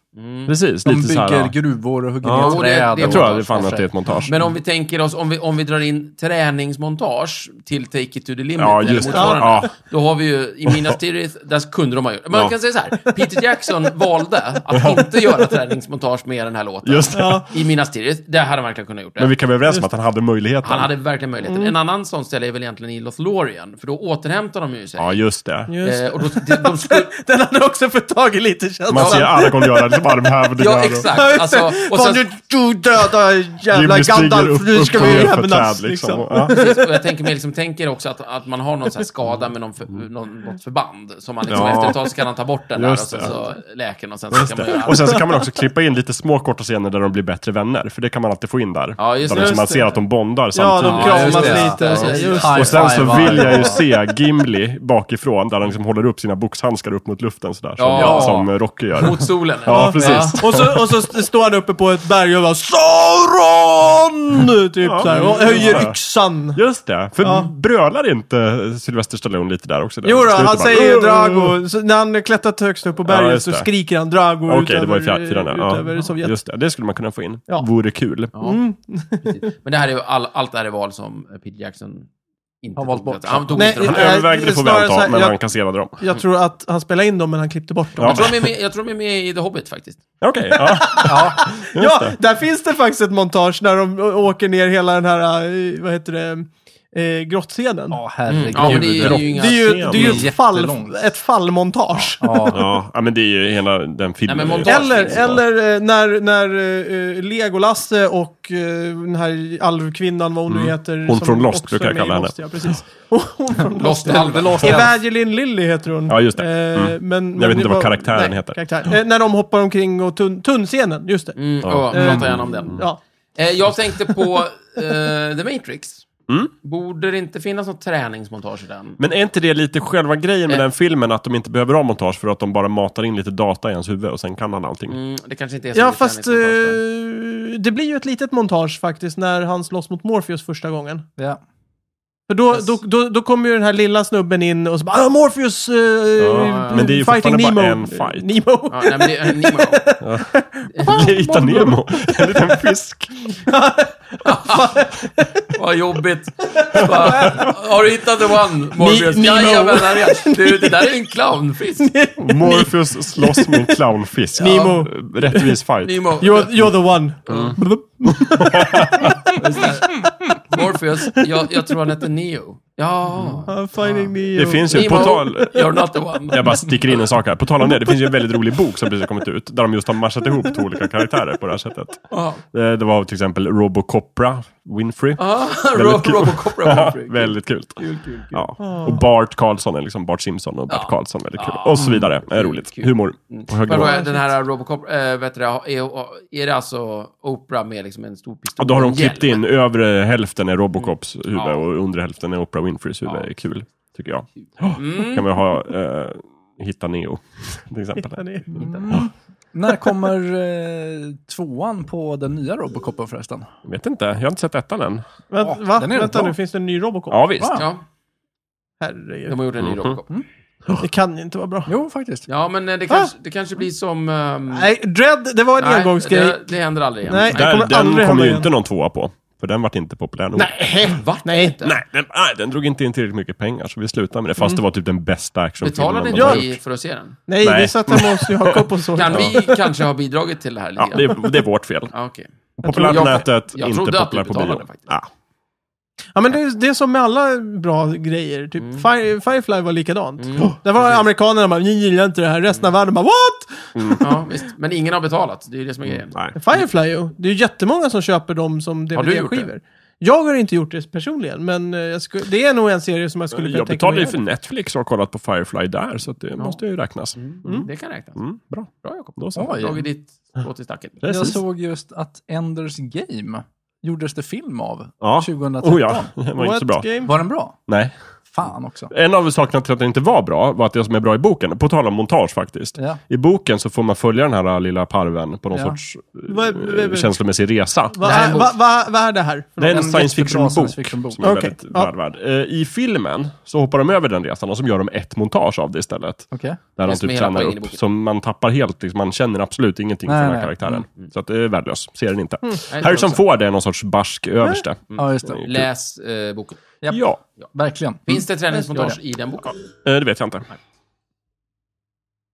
Speaker 3: Precis,
Speaker 4: De
Speaker 3: lite så här.
Speaker 4: bygger gruvor och hugger
Speaker 2: det-
Speaker 3: Ja,
Speaker 4: ner
Speaker 2: Mm. det-
Speaker 4: träd.
Speaker 2: jag
Speaker 4: och-
Speaker 3: Jag tror att det
Speaker 2: montage,
Speaker 3: fan att det är
Speaker 2: kanske.
Speaker 3: ett montage.
Speaker 2: Men om vi tänker oss, om vi, om vi drar in träningsmontage till Take It To The Limit,
Speaker 3: Ja,
Speaker 2: eller
Speaker 3: just det.
Speaker 2: motsvarande,
Speaker 3: Ja.
Speaker 2: då har vi ju i Minas Tirith, där kunde de ha gjort. Man
Speaker 3: Ja.
Speaker 2: kan säga så här, Peter Jackson valde att inte göra träningsmontage med den här låten.
Speaker 3: Just det.
Speaker 2: I Minas Tirith, där hade han verkligen kunnat gjort det.
Speaker 3: Men vi kan vara överens om att han hade möjligheten.
Speaker 2: Han hade verkligen möjligheten. En annan sån ställe är väl egentligen i Lothlorien, för då återhämtar de ju sig.
Speaker 3: Ja, just det.
Speaker 1: Just det.
Speaker 2: Eh, och då, de, de skulle,
Speaker 1: Den hade också fått tag i lite känsla.
Speaker 3: Man ser alla kommer göra liksom armhävningar.
Speaker 2: ja,
Speaker 3: och-
Speaker 2: exakt. Alltså, och
Speaker 1: Fan,
Speaker 2: sen,
Speaker 1: du, du döda jävla
Speaker 3: Jimmy stiger
Speaker 1: Gandalf,
Speaker 3: upp-
Speaker 1: nu ska
Speaker 3: upp och
Speaker 1: vi
Speaker 3: ner för
Speaker 1: hämnas.
Speaker 3: träd,
Speaker 1: Liksom.
Speaker 3: Ja.
Speaker 2: Precis, och jag tänker mig liksom, tänker också att, att man har någon så här skada med någon för, någon, något förband. Som man liksom,
Speaker 3: Ja.
Speaker 2: efter ett tag så kan han ta bort den där och
Speaker 3: Just
Speaker 2: sen
Speaker 3: det.
Speaker 2: så läker den och sen så
Speaker 3: Just
Speaker 2: kan man
Speaker 3: det.
Speaker 2: göra
Speaker 3: Och sen så kan man också klippa in lite små korta scener där de blir bättre vänner, för det kan man alltid få in där.
Speaker 2: Ja, just
Speaker 3: där
Speaker 2: det.
Speaker 3: liksom man
Speaker 1: Just det.
Speaker 3: ser att de bondar
Speaker 1: Ja, de
Speaker 3: samtidigt.
Speaker 4: kram-
Speaker 1: kramas
Speaker 4: Ja, just
Speaker 1: lite.
Speaker 4: det.
Speaker 2: Ja,
Speaker 1: så,
Speaker 2: just det.
Speaker 1: just.
Speaker 4: High
Speaker 3: och sen så
Speaker 4: five,
Speaker 3: vill
Speaker 4: high
Speaker 3: jag ju
Speaker 4: five.
Speaker 3: se Gimli bakifrån, där han liksom håller upp sina boxhandskar upp mot luften sådär, som,
Speaker 2: Ja.
Speaker 3: som Rocky gör.
Speaker 2: Mot solen.
Speaker 3: Ja, precis.
Speaker 1: Och så, och så st- står han uppe på ett berg och bara Sauron! Typ
Speaker 3: Ja,
Speaker 1: så här, och
Speaker 3: just
Speaker 1: höjer
Speaker 3: det.
Speaker 1: yxan.
Speaker 3: Just det, för
Speaker 1: Ja.
Speaker 3: brölar inte Sylvester Stallone lite där också? där
Speaker 1: Jo
Speaker 3: i
Speaker 1: då,
Speaker 3: slutet
Speaker 1: han
Speaker 3: bara,
Speaker 1: säger ju
Speaker 3: "Åh!"
Speaker 1: Drago. Så när han klättrat högst upp på
Speaker 3: Ja,
Speaker 1: berget
Speaker 3: just
Speaker 1: så
Speaker 3: det.
Speaker 1: skriker han Drago
Speaker 3: Okej,
Speaker 1: utöver,
Speaker 3: det var i fjär- fyran där.
Speaker 1: utöver
Speaker 3: Ja.
Speaker 1: Sovjet.
Speaker 3: Just det, det skulle man kunna få in.
Speaker 1: Ja.
Speaker 3: Vore kul.
Speaker 2: Ja, precis. Men det här är ju all, allt det här är val som Peter Jackson inte
Speaker 4: Han valt
Speaker 2: tog det.
Speaker 4: bort.
Speaker 2: Han tog
Speaker 1: Nej,
Speaker 2: inte dem.
Speaker 3: Han
Speaker 1: eh,
Speaker 3: övervägde
Speaker 1: det-
Speaker 3: på
Speaker 1: snarare så
Speaker 3: Vanta,
Speaker 1: här,
Speaker 3: men
Speaker 1: jag-
Speaker 3: han kasserade dem.
Speaker 1: Jag tror att han spelade in dem, men han klippte bort dem.
Speaker 2: Jag tror, de är med, jag tror de är med i The Hobbit faktiskt.
Speaker 3: Okej, ja.
Speaker 4: Ja,
Speaker 1: Ja, där finns det faktiskt ett montage när de å- åker ner hela den här, eh, vad heter det, eh, grottscenen.
Speaker 4: Mm. Ja, herregud.
Speaker 2: Ja, men det är ju
Speaker 3: Gruvbrott.
Speaker 2: inga...
Speaker 1: Det är ju, det är ju
Speaker 4: Jättelångt.
Speaker 1: ett, fall, ett fallmontage.
Speaker 4: Ja.
Speaker 3: ja. ja, men det är ju hela den filmen.
Speaker 2: Nej, men montage-
Speaker 1: Eller,
Speaker 2: finns det.
Speaker 1: eller eh, när, när eh, Legolasse och eh, den här alvkvinnan, vad hon nu heter.
Speaker 3: Mm. Hon
Speaker 1: som
Speaker 3: från Lost
Speaker 1: också
Speaker 3: brukar jag
Speaker 1: är med i
Speaker 3: kalla
Speaker 1: Lost, Ja, precis. Hon från Lost.
Speaker 2: Lost Alva.
Speaker 1: Evangeline Lilly heter hon.
Speaker 3: Ja, just det.
Speaker 1: Eh,
Speaker 3: Mm.
Speaker 1: men,
Speaker 3: Jag vet inte vad karaktären heter.
Speaker 1: Karaktär. Eh, när de hoppar omkring och tun- tunnscenen, just det.
Speaker 2: Mm, ja,
Speaker 1: Eh,
Speaker 2: prata gärna om
Speaker 3: Mm.
Speaker 2: den.
Speaker 1: Ja.
Speaker 2: Eh, jag tänkte på eh, The Matrix.
Speaker 3: Mm.
Speaker 2: Borde det inte finnas något träningsmontage i den?
Speaker 3: Men är inte det lite själva grejen med
Speaker 2: Eh.
Speaker 3: den filmen, att de inte behöver ha montage för att de bara matar in lite data i hans huvud och sen kan han allting?
Speaker 2: Mm, det kanske inte är så
Speaker 1: Ja,
Speaker 2: mycket
Speaker 1: fast eh,
Speaker 2: träningsmontage där.
Speaker 1: det blir ju ett litet montage faktiskt när han slåss mot Morpheus första gången.
Speaker 4: Ja.
Speaker 1: För då,
Speaker 2: Yes.
Speaker 1: då, då, då kommer ju den här lilla snubben in och så bara ah, Morpheus eh,
Speaker 3: men det är ju
Speaker 1: fighting Nemo.
Speaker 3: fortfarande bara en fight.
Speaker 1: Nemo.
Speaker 2: Ja, nej, men det, eh, Nemo.
Speaker 3: Lita Nemo, en liten fisk.
Speaker 2: Vad jobbigt. Bara, har du hittat the one, Morbius?
Speaker 1: Ni- Nemo.
Speaker 2: Jajamän, här är han. Du, det där är en clownfisk.
Speaker 3: Morpheus slåss med en clownfisk.
Speaker 1: Nemo.
Speaker 3: Rättvis fight.
Speaker 2: Nemo.
Speaker 1: You're, you're the one.
Speaker 2: Mm. Morpheus. Jag, jag tror han heter Neo. Ja.
Speaker 1: I'm
Speaker 2: Ah.
Speaker 1: fighting Mm. Neo.
Speaker 3: Det finns ju, på tal...
Speaker 2: You're not the one.
Speaker 3: Jag bara sticker in en sak här. På tal om det, det finns ju en väldigt rolig bok som precis har kommit ut. Där de just har matchat ihop två olika karaktärer på det här sättet.
Speaker 2: Ja.
Speaker 3: Eh, Det var till exempel Robocopra Winfrey.
Speaker 2: Ah,
Speaker 3: Väldigt
Speaker 2: Rob-
Speaker 3: kul.
Speaker 2: Robocop
Speaker 3: Ja,
Speaker 2: Robocop.
Speaker 3: väldigt kul. Ja. Och Bart Karlsson är liksom Bart Simpson och Bart
Speaker 2: Ah. Ja. Ah.
Speaker 3: Karlsson väldigt Mm, kul. Mm.
Speaker 2: Ja.
Speaker 3: Och så vidare. Är roligt.
Speaker 2: Kul.
Speaker 3: Humor. På hög
Speaker 2: Men
Speaker 3: nivå.
Speaker 2: då är den här Robocop, äh, vet du, det, är, är det alltså Oprah med liksom en stor pistol?
Speaker 3: Och då har de
Speaker 2: och en
Speaker 3: klippt
Speaker 2: hjälm?
Speaker 3: in övre hälften är Robocops huvud
Speaker 2: Ja.
Speaker 3: och undre hälften är Oprah Winfreys huvud.
Speaker 2: Ja. Mm.
Speaker 3: Det är kul, tycker jag. Kan man ha eh, Hitta Neo, till exempel.
Speaker 4: När kommer eh, tvåan på den nya Robocopen förresten?
Speaker 3: Jag vet inte, jag har inte sett ettan än.
Speaker 2: Ah,
Speaker 1: Vänt, va?
Speaker 4: den är
Speaker 1: Vänta
Speaker 4: bra.
Speaker 1: nu, finns det en ny Robocop?
Speaker 3: Ja, visst.
Speaker 4: Wow.
Speaker 2: Ja,
Speaker 1: Herregud.
Speaker 2: de har gjort en ny
Speaker 3: Mhm.
Speaker 2: Robocop.
Speaker 1: Det kan ju inte vara bra.
Speaker 2: Mm.
Speaker 4: Jo, faktiskt.
Speaker 2: Ja, men
Speaker 3: Ah.
Speaker 2: eh, det kanske, det kanske blir som... ehm,
Speaker 1: Nej, Dread, det var en
Speaker 2: nej,
Speaker 1: engångsgrej.
Speaker 2: Det, det händer aldrig igen.
Speaker 1: Nej.
Speaker 3: Där,
Speaker 1: kommer
Speaker 3: kommer
Speaker 1: aldrig
Speaker 3: den
Speaker 1: hända
Speaker 3: kommer ju
Speaker 1: igen.
Speaker 3: inte någon tvåa på. För den vart inte populär nog.
Speaker 2: Nej, vart Nej.
Speaker 3: Nej, den, nej, den drog inte in tillräckligt mycket pengar, så vi slutade med det. Fast det var typ den bästa actionfilmen.
Speaker 2: Mm. Betalade
Speaker 3: de har
Speaker 2: inte vi
Speaker 3: gjort.
Speaker 2: för att se den?
Speaker 1: Nej,
Speaker 3: Nej.
Speaker 1: vi satt hemma hos Jakob och så.
Speaker 2: Kan vi kanske ha bidragit till det här lite
Speaker 3: Ja, det är, det är vårt fel.
Speaker 2: Ja, okej.
Speaker 3: Populär på
Speaker 2: tror- jag-
Speaker 3: nätet,
Speaker 2: jag
Speaker 3: inte
Speaker 2: trodde att
Speaker 3: populär
Speaker 2: du
Speaker 3: på
Speaker 2: betalade
Speaker 3: bio. Ah,
Speaker 2: faktiskt.
Speaker 3: Ja.
Speaker 1: Ja, men det, är- det är som med alla bra grejer. Typ
Speaker 2: Mm.
Speaker 1: Fire, Firefly var likadant. Där var amerikanerna bara, ni gillar inte det här. Resten av världen bara, what?
Speaker 2: Ja, visst. Men ingen har betalat. Det är ju det som är grejen.
Speaker 3: Nej.
Speaker 1: Firefly ju. Det är ju jättemånga som köper dem som
Speaker 2: Har du gjort
Speaker 1: DVD-skivor. Jag har inte gjort det personligen, men eh, jag sku, det är nog en serie som jag skulle kunna
Speaker 3: Jag
Speaker 1: tänka
Speaker 3: betalade
Speaker 1: mig.
Speaker 3: ju för Netflix och har kollat på Firefly där, så att det måste ju räknas.
Speaker 2: Det kan räknas.
Speaker 3: Mm, bra.
Speaker 2: Bra, Jakob.
Speaker 3: Då så.
Speaker 4: Oj.
Speaker 2: Dragit ditt strå till stacken.
Speaker 4: Jag
Speaker 3: Precis.
Speaker 4: såg just att Enders Game gjordes det film av
Speaker 3: Ja.
Speaker 4: 2013.
Speaker 3: Oh ja, den var inte så bra.
Speaker 1: Game?
Speaker 4: Var den bra?
Speaker 3: Nej.
Speaker 4: Fan också.
Speaker 3: En av sakerna till att den inte var bra var att det som är bra i boken, på tal om montage faktiskt.
Speaker 4: Ja.
Speaker 3: I boken så får man följa den här äh, lilla parven på någon
Speaker 4: Ja.
Speaker 3: sorts eh,
Speaker 1: Vad- vad-
Speaker 3: känslomässig resa.
Speaker 1: Vad
Speaker 2: Nej,
Speaker 1: är,
Speaker 2: mot-
Speaker 1: va, va, vad är det här? för
Speaker 3: Det är en
Speaker 4: En
Speaker 3: science
Speaker 4: jättebra
Speaker 3: fiction-bok
Speaker 4: science fiction-bok.
Speaker 3: som är
Speaker 1: Okej,
Speaker 3: väldigt
Speaker 1: ja.
Speaker 3: värvärd. Eh, I filmen så hoppar de över den resan och så gör de ett montage av det istället.
Speaker 4: Okej.
Speaker 3: Där han
Speaker 2: som är
Speaker 3: typ
Speaker 2: hela
Speaker 3: tränar
Speaker 2: poängen i
Speaker 3: upp.
Speaker 2: boken. Mm,
Speaker 3: Som man tappar helt. Liksom, man känner absolut ingenting
Speaker 4: Nej,
Speaker 3: för den här
Speaker 4: nej.
Speaker 3: karaktären. Så att det är värdelös. Ser den inte.
Speaker 2: Nej, det
Speaker 3: Harrison
Speaker 2: var också.
Speaker 3: Ford är någon sorts barsk överste.
Speaker 4: Mm.
Speaker 3: Mm.
Speaker 4: Ja, just det.
Speaker 2: Läs eh, boken.
Speaker 4: Japp.
Speaker 3: Ja,
Speaker 4: Verkligen.
Speaker 2: Finns
Speaker 3: Mm.
Speaker 2: det träningsmontage i den boken?
Speaker 3: eh, det vet jag inte.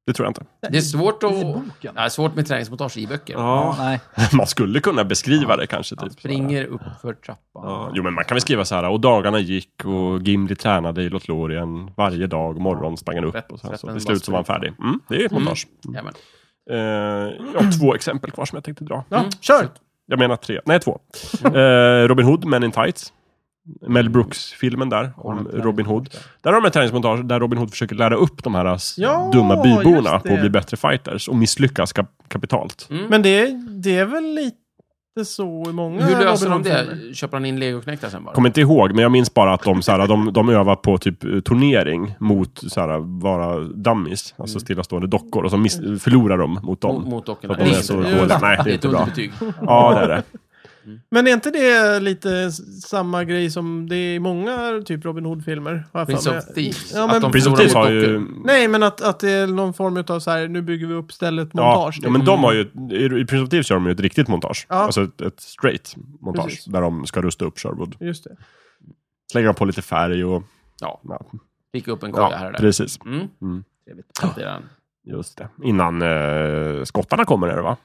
Speaker 3: Det tror jag inte.
Speaker 2: Det är svårt att...
Speaker 4: I boken?
Speaker 2: Ja, svårt med träningsmontage i böcker.
Speaker 4: Ja, nej.
Speaker 3: Man skulle kunna beskriva det kanske.
Speaker 2: Han
Speaker 3: Typ, sådär.
Speaker 2: springer upp för trappan.
Speaker 3: Ja. Jo, men man kan väl skriva så här. Och dagarna gick och Gimli tränade i Lothlorien varje dag. Morgon sprang han upp
Speaker 2: Rätt-
Speaker 3: och sen
Speaker 2: rätt
Speaker 3: så
Speaker 2: men
Speaker 3: till
Speaker 2: bara
Speaker 3: slut så var han
Speaker 2: sprang.
Speaker 3: färdig. Mm, det är ett montage.
Speaker 2: Jajamän.
Speaker 3: Eh, jag har två exempel kvar som jag tänkte dra.
Speaker 1: Ja, kör!
Speaker 3: Jag menar tre. Nej, två.
Speaker 1: Mm.
Speaker 3: Eh, Robin Hood, Men in Tights. Mel Brooks-filmen där, om Robin Hood. Där har de ett träningsmontage där Robin Hood försöker lära upp de här s-
Speaker 1: Ja,
Speaker 3: dumma byborna
Speaker 1: just det. Mm.
Speaker 3: på att bli bättre fighters och misslyckas kap- kapitalt.
Speaker 1: Men det, det är väl lite så i många
Speaker 2: Hur löser de
Speaker 1: Robin Hood-filmer.
Speaker 2: det? Köper han in legoknektar sen bara?
Speaker 3: Kommer inte ihåg, men jag minns bara att de, så här, de, de övar på typ eh, turnering mot så här, vara dummies, alltså
Speaker 1: Mm.
Speaker 3: stillastående dockor, och så miss- förlorar de mot
Speaker 2: Mot-
Speaker 3: dem.
Speaker 2: Mot dockorna.
Speaker 3: För att de är så
Speaker 1: det är
Speaker 3: dåliga. Nej, det
Speaker 2: Det
Speaker 3: är
Speaker 2: är ett
Speaker 3: inte bra.
Speaker 2: underbetyg.
Speaker 3: Ja, det är det.
Speaker 1: Men är inte det lite s- samma grej som det är i många typ Robin Hood-filmer? har jag för
Speaker 2: Prince
Speaker 1: mig.
Speaker 2: of Thieves.
Speaker 1: Ja, men-
Speaker 2: att de
Speaker 3: Prince of
Speaker 2: förlorar
Speaker 3: Thieves
Speaker 2: mot
Speaker 3: har
Speaker 2: dockor.
Speaker 3: ju
Speaker 1: Nej, men att, att det är någon form av så här, nu bygger vi upp stället montage. typ. Mm.
Speaker 3: Ja, ja, men de har ju, i Prince of Thieves gör de ju ett riktigt montage.
Speaker 1: Ja.
Speaker 3: Alltså ett, ett straight montage.
Speaker 1: Precis. Mm.
Speaker 3: Där de ska rusta upp Sherwood.
Speaker 1: Just det.
Speaker 3: Slänger de på lite färg och...
Speaker 2: Ja,
Speaker 3: Ja,
Speaker 2: fick upp en kolja här
Speaker 3: ja
Speaker 2: och där.
Speaker 3: precis.
Speaker 2: Mm.
Speaker 3: Mm.
Speaker 2: Trevligt. Planterar den.
Speaker 3: Just det. Innan eh, skottarna kommer är det va?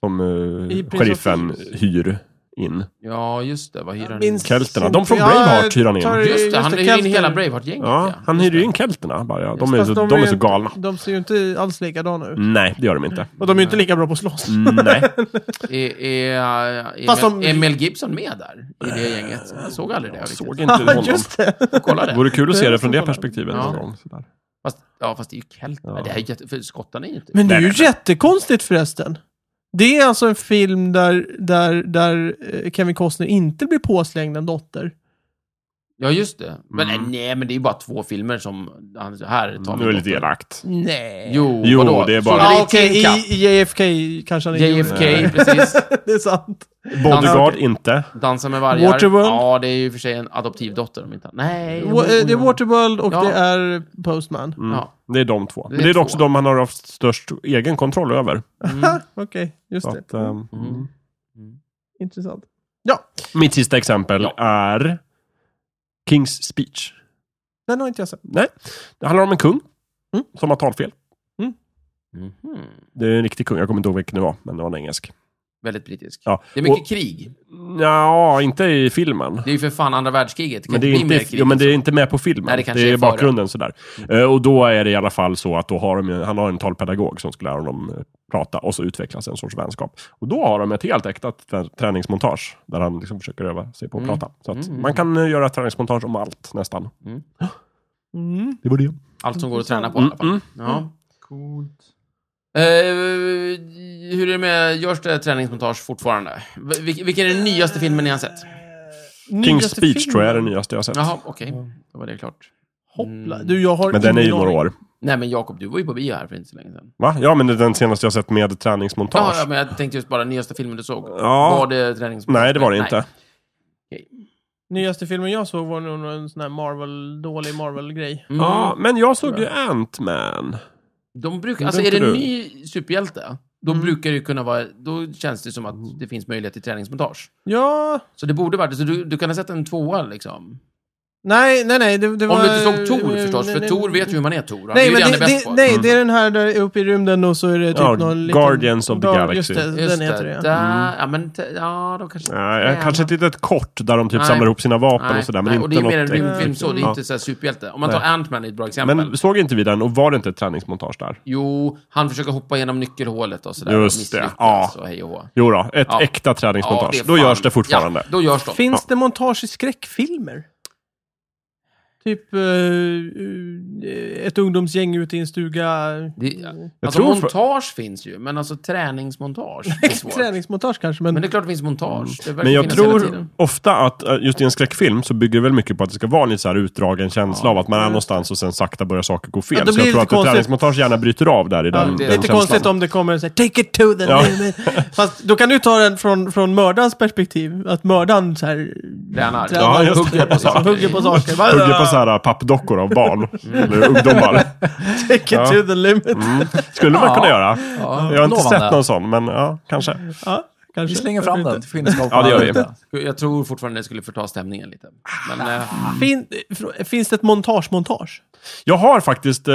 Speaker 3: Som
Speaker 1: I
Speaker 3: eh,
Speaker 1: Prince
Speaker 3: sheriffen
Speaker 1: of Thieves.
Speaker 3: hyr in.
Speaker 2: Ja, just det. Vad hyr han in?
Speaker 1: Minns
Speaker 3: Kelterna.
Speaker 1: inte.
Speaker 3: De från
Speaker 1: Ja,
Speaker 3: Braveheart hyr han in.
Speaker 1: tar-
Speaker 2: Just det, han
Speaker 1: det,
Speaker 2: hyr in
Speaker 1: Kelter.
Speaker 2: hela Braveheart-gänget.
Speaker 3: Ja, han
Speaker 2: Just
Speaker 3: hyr ju
Speaker 2: det.
Speaker 3: in kelterna bara. De är,
Speaker 1: Fast
Speaker 3: så, de är
Speaker 1: ju
Speaker 3: så
Speaker 1: inte-
Speaker 3: galna.
Speaker 1: De ser ju inte alls likadana ut.
Speaker 3: Nej, det gör de inte.
Speaker 1: Och de är ju inte lika bra på att slåss.
Speaker 2: Mm.
Speaker 3: Nej.
Speaker 2: Är, är, är,
Speaker 1: Fast
Speaker 2: Mel,
Speaker 1: de-
Speaker 2: är Mel Gibson med där? I det gänget? Jag såg aldrig det.
Speaker 3: Äh, Jag
Speaker 2: riktigt.
Speaker 3: såg inte honom.
Speaker 1: Just det.
Speaker 2: Kolla
Speaker 3: Det
Speaker 2: det.
Speaker 3: vore kul att se det från det perspektivet
Speaker 2: Ja.
Speaker 3: någon gång. Sådär.
Speaker 2: Fast, ja, fast det är ju Kelt.
Speaker 3: Ja.
Speaker 2: Nej, Det här är jätte... För skottarna är ju inte...
Speaker 1: Men det är
Speaker 3: Nej,
Speaker 1: ju
Speaker 3: nej, nej.
Speaker 1: jättekonstigt förresten. Det är alltså en film där, där, där eh, Kevin Costner inte blir påslängd en dotter.
Speaker 2: Ja, just det. Men
Speaker 3: Mm.
Speaker 2: nej, men det är ju bara två filmer som... Han, här tar
Speaker 3: Nu är det lite elakt.
Speaker 1: Nej.
Speaker 2: Jo,
Speaker 3: Jo,
Speaker 2: vadå?
Speaker 3: det är
Speaker 2: Så
Speaker 3: bara-
Speaker 1: Ja,
Speaker 2: det är
Speaker 1: okej,
Speaker 2: Team Cup.
Speaker 1: i JFK kanske han är
Speaker 2: JFK, precis.
Speaker 1: Det är sant.
Speaker 3: Bodyguard inte.
Speaker 2: Dansa med vargar.
Speaker 1: Waterworld.
Speaker 2: Ja, det är ju för sig en adoptivdotter om inte Nej.
Speaker 1: Wa- eh, Det är Waterworld och
Speaker 2: Mm. Ja.
Speaker 1: det är Postman.
Speaker 3: Mm.
Speaker 2: Ja.
Speaker 3: Det är de två. Men
Speaker 2: är
Speaker 3: det är
Speaker 2: två.
Speaker 3: också de han har haft störst egen kontroll över.
Speaker 1: Ha, Okej, just
Speaker 3: Så
Speaker 1: det.
Speaker 3: att, ehm,
Speaker 2: Mm.
Speaker 1: Intressant.
Speaker 3: Mitt sista exempel
Speaker 2: Ja.
Speaker 3: är Kings speech.
Speaker 1: Den har inte jag sett.
Speaker 3: Nej, det handlar om en kung
Speaker 1: Mm.
Speaker 3: som har talfel. Mm.
Speaker 2: Mhm.
Speaker 3: Det är en riktig kung, jag kommer inte ihåg vilken det var, men det var en engelsk.
Speaker 2: Väldigt brittisk.
Speaker 3: Ja.
Speaker 2: Det är mycket
Speaker 3: Och-
Speaker 2: krig.
Speaker 3: Ja, inte i filmen.
Speaker 2: Det är ju för fan andra världskriget. Det kan
Speaker 3: Men det, är
Speaker 2: inte bli mer
Speaker 3: inte,
Speaker 2: krig.
Speaker 3: jo, men det är inte med på filmen.
Speaker 2: Nej, det
Speaker 3: det,
Speaker 2: kanske är Mm.
Speaker 3: är
Speaker 2: före.
Speaker 3: bakgrunden sådär. Eh, och då är det i alla fall så att då har de, ju- han har en talpedagog som ska lära honom eh, prata och så utvecklas en sorts vänskap. Och då har de ett helt äkta trä- träningsmontage där han liksom försöker öva sig på att
Speaker 2: Mm.
Speaker 3: prata. Så att
Speaker 2: Mm.
Speaker 3: man kan eh, göra träningsmontage om allt nästan.
Speaker 1: Mm.
Speaker 3: Det var det.
Speaker 2: liksom. Allt som går att träna på i alla fall.
Speaker 3: Mm,
Speaker 2: Ja.
Speaker 4: Coolt.
Speaker 2: Eh, hur är det med, görs det träningsmontage fortfarande? V- vil- vilken är den nyaste filmen ni har sett?
Speaker 3: King's
Speaker 1: Nyaste
Speaker 3: speech tror jag är
Speaker 1: filmen.
Speaker 3: den nyaste jag har sett.
Speaker 2: Jaha, okej. Då var det klart.
Speaker 1: Hoppla. Du, jag har
Speaker 3: Men den är ju
Speaker 1: ingen
Speaker 3: några
Speaker 1: aning.
Speaker 3: år.
Speaker 2: Nej, men Jakob, du var ju på bio här för inte så länge sedan.
Speaker 3: Va? Ja, men det är den senaste jag har sett med
Speaker 2: Ja, ja,
Speaker 3: träningsmontage.
Speaker 2: men jag tänkte just bara nyaste filmen du såg.
Speaker 3: Ja.
Speaker 2: Var det Mm. träningsmontage?
Speaker 3: Nej, det var det inte.
Speaker 1: Nyaste filmen jag såg var nog en sån här Marvel, dålig Marvel-grej.
Speaker 2: Mm.
Speaker 3: Ja, men jag såg ju Ant-Man.
Speaker 2: De brukar,
Speaker 3: Den
Speaker 2: alltså är det en
Speaker 3: tror du.
Speaker 2: ny superhjälte, då
Speaker 1: Mm.
Speaker 2: brukar det ju kunna vara, då känns det som att det finns möjlighet till träningsmontage.
Speaker 1: Ja,
Speaker 2: Så det borde varit, så du, du kan ha sett en tvåa liksom.
Speaker 1: nej, nej, nej. Det, det
Speaker 2: Om
Speaker 1: var,
Speaker 2: du inte såg Tor
Speaker 1: eh,
Speaker 2: förstås,
Speaker 1: nej,
Speaker 2: för
Speaker 1: nej,
Speaker 2: Tor vet ju hur man är Tor. Han är
Speaker 1: Nej,
Speaker 2: ju
Speaker 1: men
Speaker 2: det han är
Speaker 1: det,
Speaker 2: bäst
Speaker 1: det,
Speaker 2: på. Mm.
Speaker 1: nej, det är den här där uppe i rymden och så är det typ
Speaker 3: Ja,
Speaker 1: någon
Speaker 3: Guardians of the
Speaker 1: Gar-
Speaker 3: Galaxy.
Speaker 1: Just det,
Speaker 2: Just
Speaker 1: den heter det. ja.
Speaker 2: Där,
Speaker 3: Mm.
Speaker 2: ja, men te- ja, då kanske...
Speaker 3: Nej,
Speaker 2: Nej,
Speaker 3: kanske
Speaker 2: men-
Speaker 3: ett litet kort där de typ
Speaker 2: Nej.
Speaker 3: samlar ihop sina vapen
Speaker 2: Nej,
Speaker 3: och sådär. Men
Speaker 2: nej,
Speaker 3: inte
Speaker 2: och det är mer en
Speaker 3: något äkta.
Speaker 2: rymdfilm så, det är
Speaker 3: Ja.
Speaker 2: inte så här superhjälte. Om man tar
Speaker 3: Nej.
Speaker 2: Ant-Man är ett bra exempel.
Speaker 3: Men såg inte vi den och var det inte ett träningsmontage där?
Speaker 2: Jo, han försöker hoppa genom nyckelhålet och sådär.
Speaker 3: Just
Speaker 2: och misslyckas
Speaker 3: det, ja.
Speaker 2: Och hej och hå.
Speaker 3: Jo då, ett
Speaker 2: Ja.
Speaker 3: äkta
Speaker 2: Ja,
Speaker 3: träningsmontage.
Speaker 2: det är
Speaker 3: då
Speaker 2: fan-
Speaker 3: görs det fortfarande.
Speaker 2: Ja, då görs de.
Speaker 1: Finns det montage i skräckfilmer? Typ eh, eh, ett ungdomsgäng ute i en stuga.
Speaker 2: Det, alltså
Speaker 3: tror för-
Speaker 2: montage finns ju, men alltså träningsmontage är svårt.
Speaker 1: Träningsmontage kanske, men...
Speaker 2: Men det är klart det finns montage. Det verkar
Speaker 3: Men jag
Speaker 2: finnas hela
Speaker 3: tror
Speaker 2: tiden.
Speaker 3: ofta att eh, just i en skräckfilm så bygger det väl mycket på att det ska vara en lite så här utdragen känsla av att
Speaker 2: Mm.
Speaker 3: man är någonstans och sen sakta börjar saker gå fel.
Speaker 1: Ja, det
Speaker 3: så
Speaker 1: blir
Speaker 3: jag
Speaker 1: lite
Speaker 3: tror att ett
Speaker 1: konstigt.
Speaker 3: träningsmontage gärna bryter av där i den,
Speaker 2: det är
Speaker 1: Det är lite
Speaker 3: den känslan.
Speaker 1: konstigt om det kommer så här, take it to the
Speaker 3: Ja.
Speaker 1: Fast då kan du ta den från, från mördarens perspektiv. Att mördaren så här...
Speaker 2: Tränar.
Speaker 1: Tränar. Ja,
Speaker 3: just det.
Speaker 2: hugger på saker. Mm.
Speaker 1: Hugger på saker.
Speaker 3: Hugger på så här eh, pappdockor av barn. Eller ungdomar.
Speaker 1: Take it
Speaker 3: Ja.
Speaker 1: to the limit.
Speaker 3: Mm. Skulle man
Speaker 4: Ja.
Speaker 3: kunna göra.
Speaker 4: Ja,
Speaker 3: Jag har inte
Speaker 4: lovande.
Speaker 3: sett någon sån, men ja, kanske.
Speaker 1: Ja,
Speaker 4: Vi
Speaker 1: kanske.
Speaker 4: slänger fram den till finnskaparna.
Speaker 3: Ja, det gör vi.
Speaker 2: Jag tror fortfarande det skulle förta stämningen lite. Men, eh,
Speaker 1: Fin, fr- finns det ett montage-montage?
Speaker 3: Jag har faktiskt eh,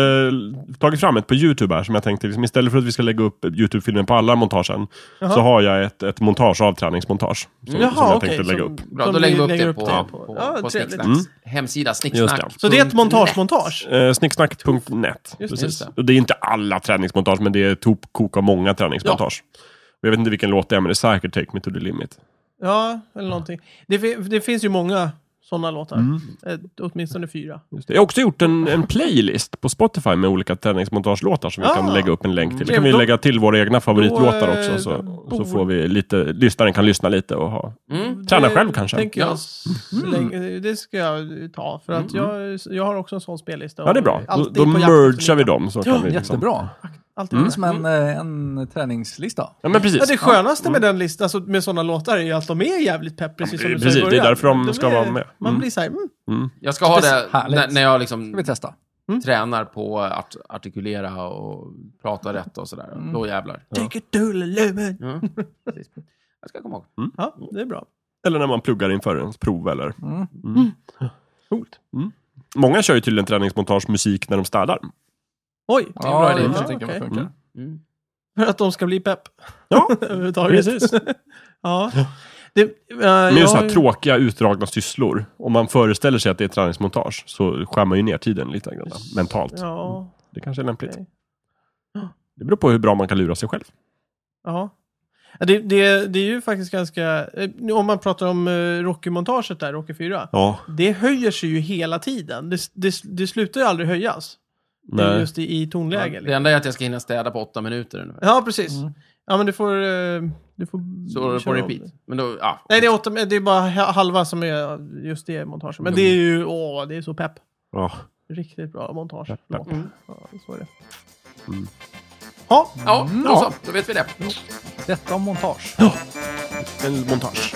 Speaker 3: tagit fram ett på YouTube här som jag tänkte, liksom, istället för att vi ska lägga upp YouTube-filmen på alla montagen, så har jag ett, ett montage av träningsmontage. Som, som jag tänkte lägga upp.
Speaker 2: bra, då lägger vi upp det på,
Speaker 1: det.
Speaker 2: på,
Speaker 1: ja,
Speaker 2: på
Speaker 1: trevligt.
Speaker 2: Snicksnacks hemsida. Mm.
Speaker 3: Just
Speaker 2: Snicksnack.
Speaker 3: det.
Speaker 1: Så det är ett montage-montage?
Speaker 3: Eh, Snicksnack.net.
Speaker 1: Just
Speaker 3: Precis.
Speaker 2: det.
Speaker 3: Och det är inte alla träningsmontage, men det är topkok av många träningsmontage. Och Jag vet inte vilken låt det är, men det är säkert Take Me To The Limit.
Speaker 1: Ja, eller någonting. Det, fi- det finns ju många sådana låtar.
Speaker 3: Mm.
Speaker 1: Eh, åtminstone fyra.
Speaker 3: Just det. Jag har också gjort en, en playlist på Spotify med olika träningsmontagelåtar som vi
Speaker 1: Ah.
Speaker 3: kan lägga upp en länk till. Då kan vi
Speaker 1: Trevligt.
Speaker 3: lägga till våra egna favoritlåtar
Speaker 1: Då, eh,
Speaker 3: också, så,
Speaker 1: bor-
Speaker 3: så får vi lite, lyssnaren kan lyssna lite och ha,
Speaker 2: Mm.
Speaker 3: träna
Speaker 1: Det
Speaker 3: själv kanske.
Speaker 1: Tänker
Speaker 2: Ja.
Speaker 1: jag, slänga- Det ska jag ta, för att jag, jag har också en sån spellista.
Speaker 3: Mm. Ja, det är bra. Då,
Speaker 1: Alltid
Speaker 3: då
Speaker 1: på jakt efter
Speaker 3: mergar vi
Speaker 1: nya.
Speaker 3: dem. Så kan vi liksom.
Speaker 4: Jättebra.
Speaker 1: Alltid
Speaker 4: Det är
Speaker 1: på
Speaker 4: Som en, eh, en träningslista.
Speaker 3: Ja, men precis.
Speaker 1: Ja, det skönaste med den listan, alltså med sådana låtar, är ju att de är jävligt pepp, precis som du sa i
Speaker 3: precis, det är
Speaker 1: början.
Speaker 3: därför de ska
Speaker 1: är,
Speaker 3: vara med.
Speaker 1: Man
Speaker 3: Mm.
Speaker 1: blir såhär, mm.
Speaker 2: Jag ska ha det
Speaker 4: Härligt.
Speaker 2: när, när jag
Speaker 4: ska vi
Speaker 2: liksom
Speaker 4: testa.
Speaker 2: tränar på att artikulera och prata rätt och sådär. Då jävlar.
Speaker 1: take it to the limit.
Speaker 2: Ja, precis. Jag ska komma ihåg.
Speaker 1: Ja, det är bra.
Speaker 3: Eller när man pluggar inför ens prov eller...
Speaker 4: Mm.
Speaker 3: Mm. Coolt. Mm. Många kör ju tydligen träningsmontage musik när de städar.
Speaker 1: Oj!
Speaker 2: är en bra idé.
Speaker 4: det
Speaker 1: Ja,
Speaker 4: kan jag tänka mig
Speaker 1: okej.
Speaker 4: funkar.
Speaker 3: Mm.
Speaker 2: Mm.
Speaker 1: För att de ska bli pepp.
Speaker 3: Ja,
Speaker 1: överhuvudtaget.
Speaker 3: precis.
Speaker 1: ja. Det, eh,
Speaker 3: Men
Speaker 1: jag
Speaker 3: just så
Speaker 1: har
Speaker 3: här
Speaker 1: ju-
Speaker 3: tråkiga utdragna sysslor. Om man föreställer sig att det är träningsmontage så skär man ju ner tiden lite grann mentalt.
Speaker 1: Ja,
Speaker 3: Det kanske är lämpligt.
Speaker 1: Okej.
Speaker 3: Det beror på hur bra man kan lura sig själv.
Speaker 1: ja. Ja, Det, det, det är ju faktiskt ganska, eh, nu om man pratar om eh, Rocky-montaget där, Rocky 4.
Speaker 3: Ja,
Speaker 1: Det höjer sig ju hela tiden. Det, det, det slutar ju aldrig höjas. Det är
Speaker 3: nej.
Speaker 1: Just i, i
Speaker 2: Ja,
Speaker 1: tonläge.
Speaker 2: Det
Speaker 1: Liksom.
Speaker 2: enda är att jag ska hinna städa på åtta minuter ungefär.
Speaker 1: Ja, precis.
Speaker 4: Mm.
Speaker 1: Ja, men du får... eh, Du får
Speaker 2: Så är det på
Speaker 1: köra Mm, om
Speaker 2: repeat.
Speaker 1: det.
Speaker 2: Men då, ja.
Speaker 1: Nej, det är, åtta, det är bara ha- halva som är just det montaget. Men det är ju, åh, det är så pepp.
Speaker 3: Ja.
Speaker 1: Riktigt bra montage.
Speaker 3: Pepp, pepp.
Speaker 1: Mm. Ja, så är det. Ja,
Speaker 2: Ja, då så. Då vet vi det.
Speaker 4: Detta om montage.
Speaker 3: En montage.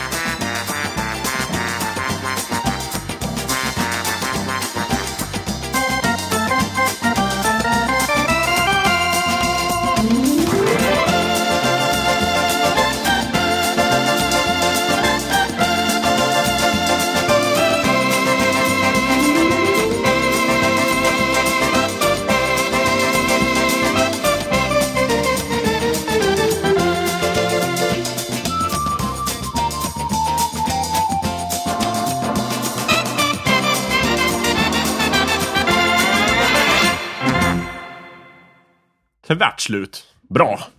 Speaker 3: Tvärt slut. Bra.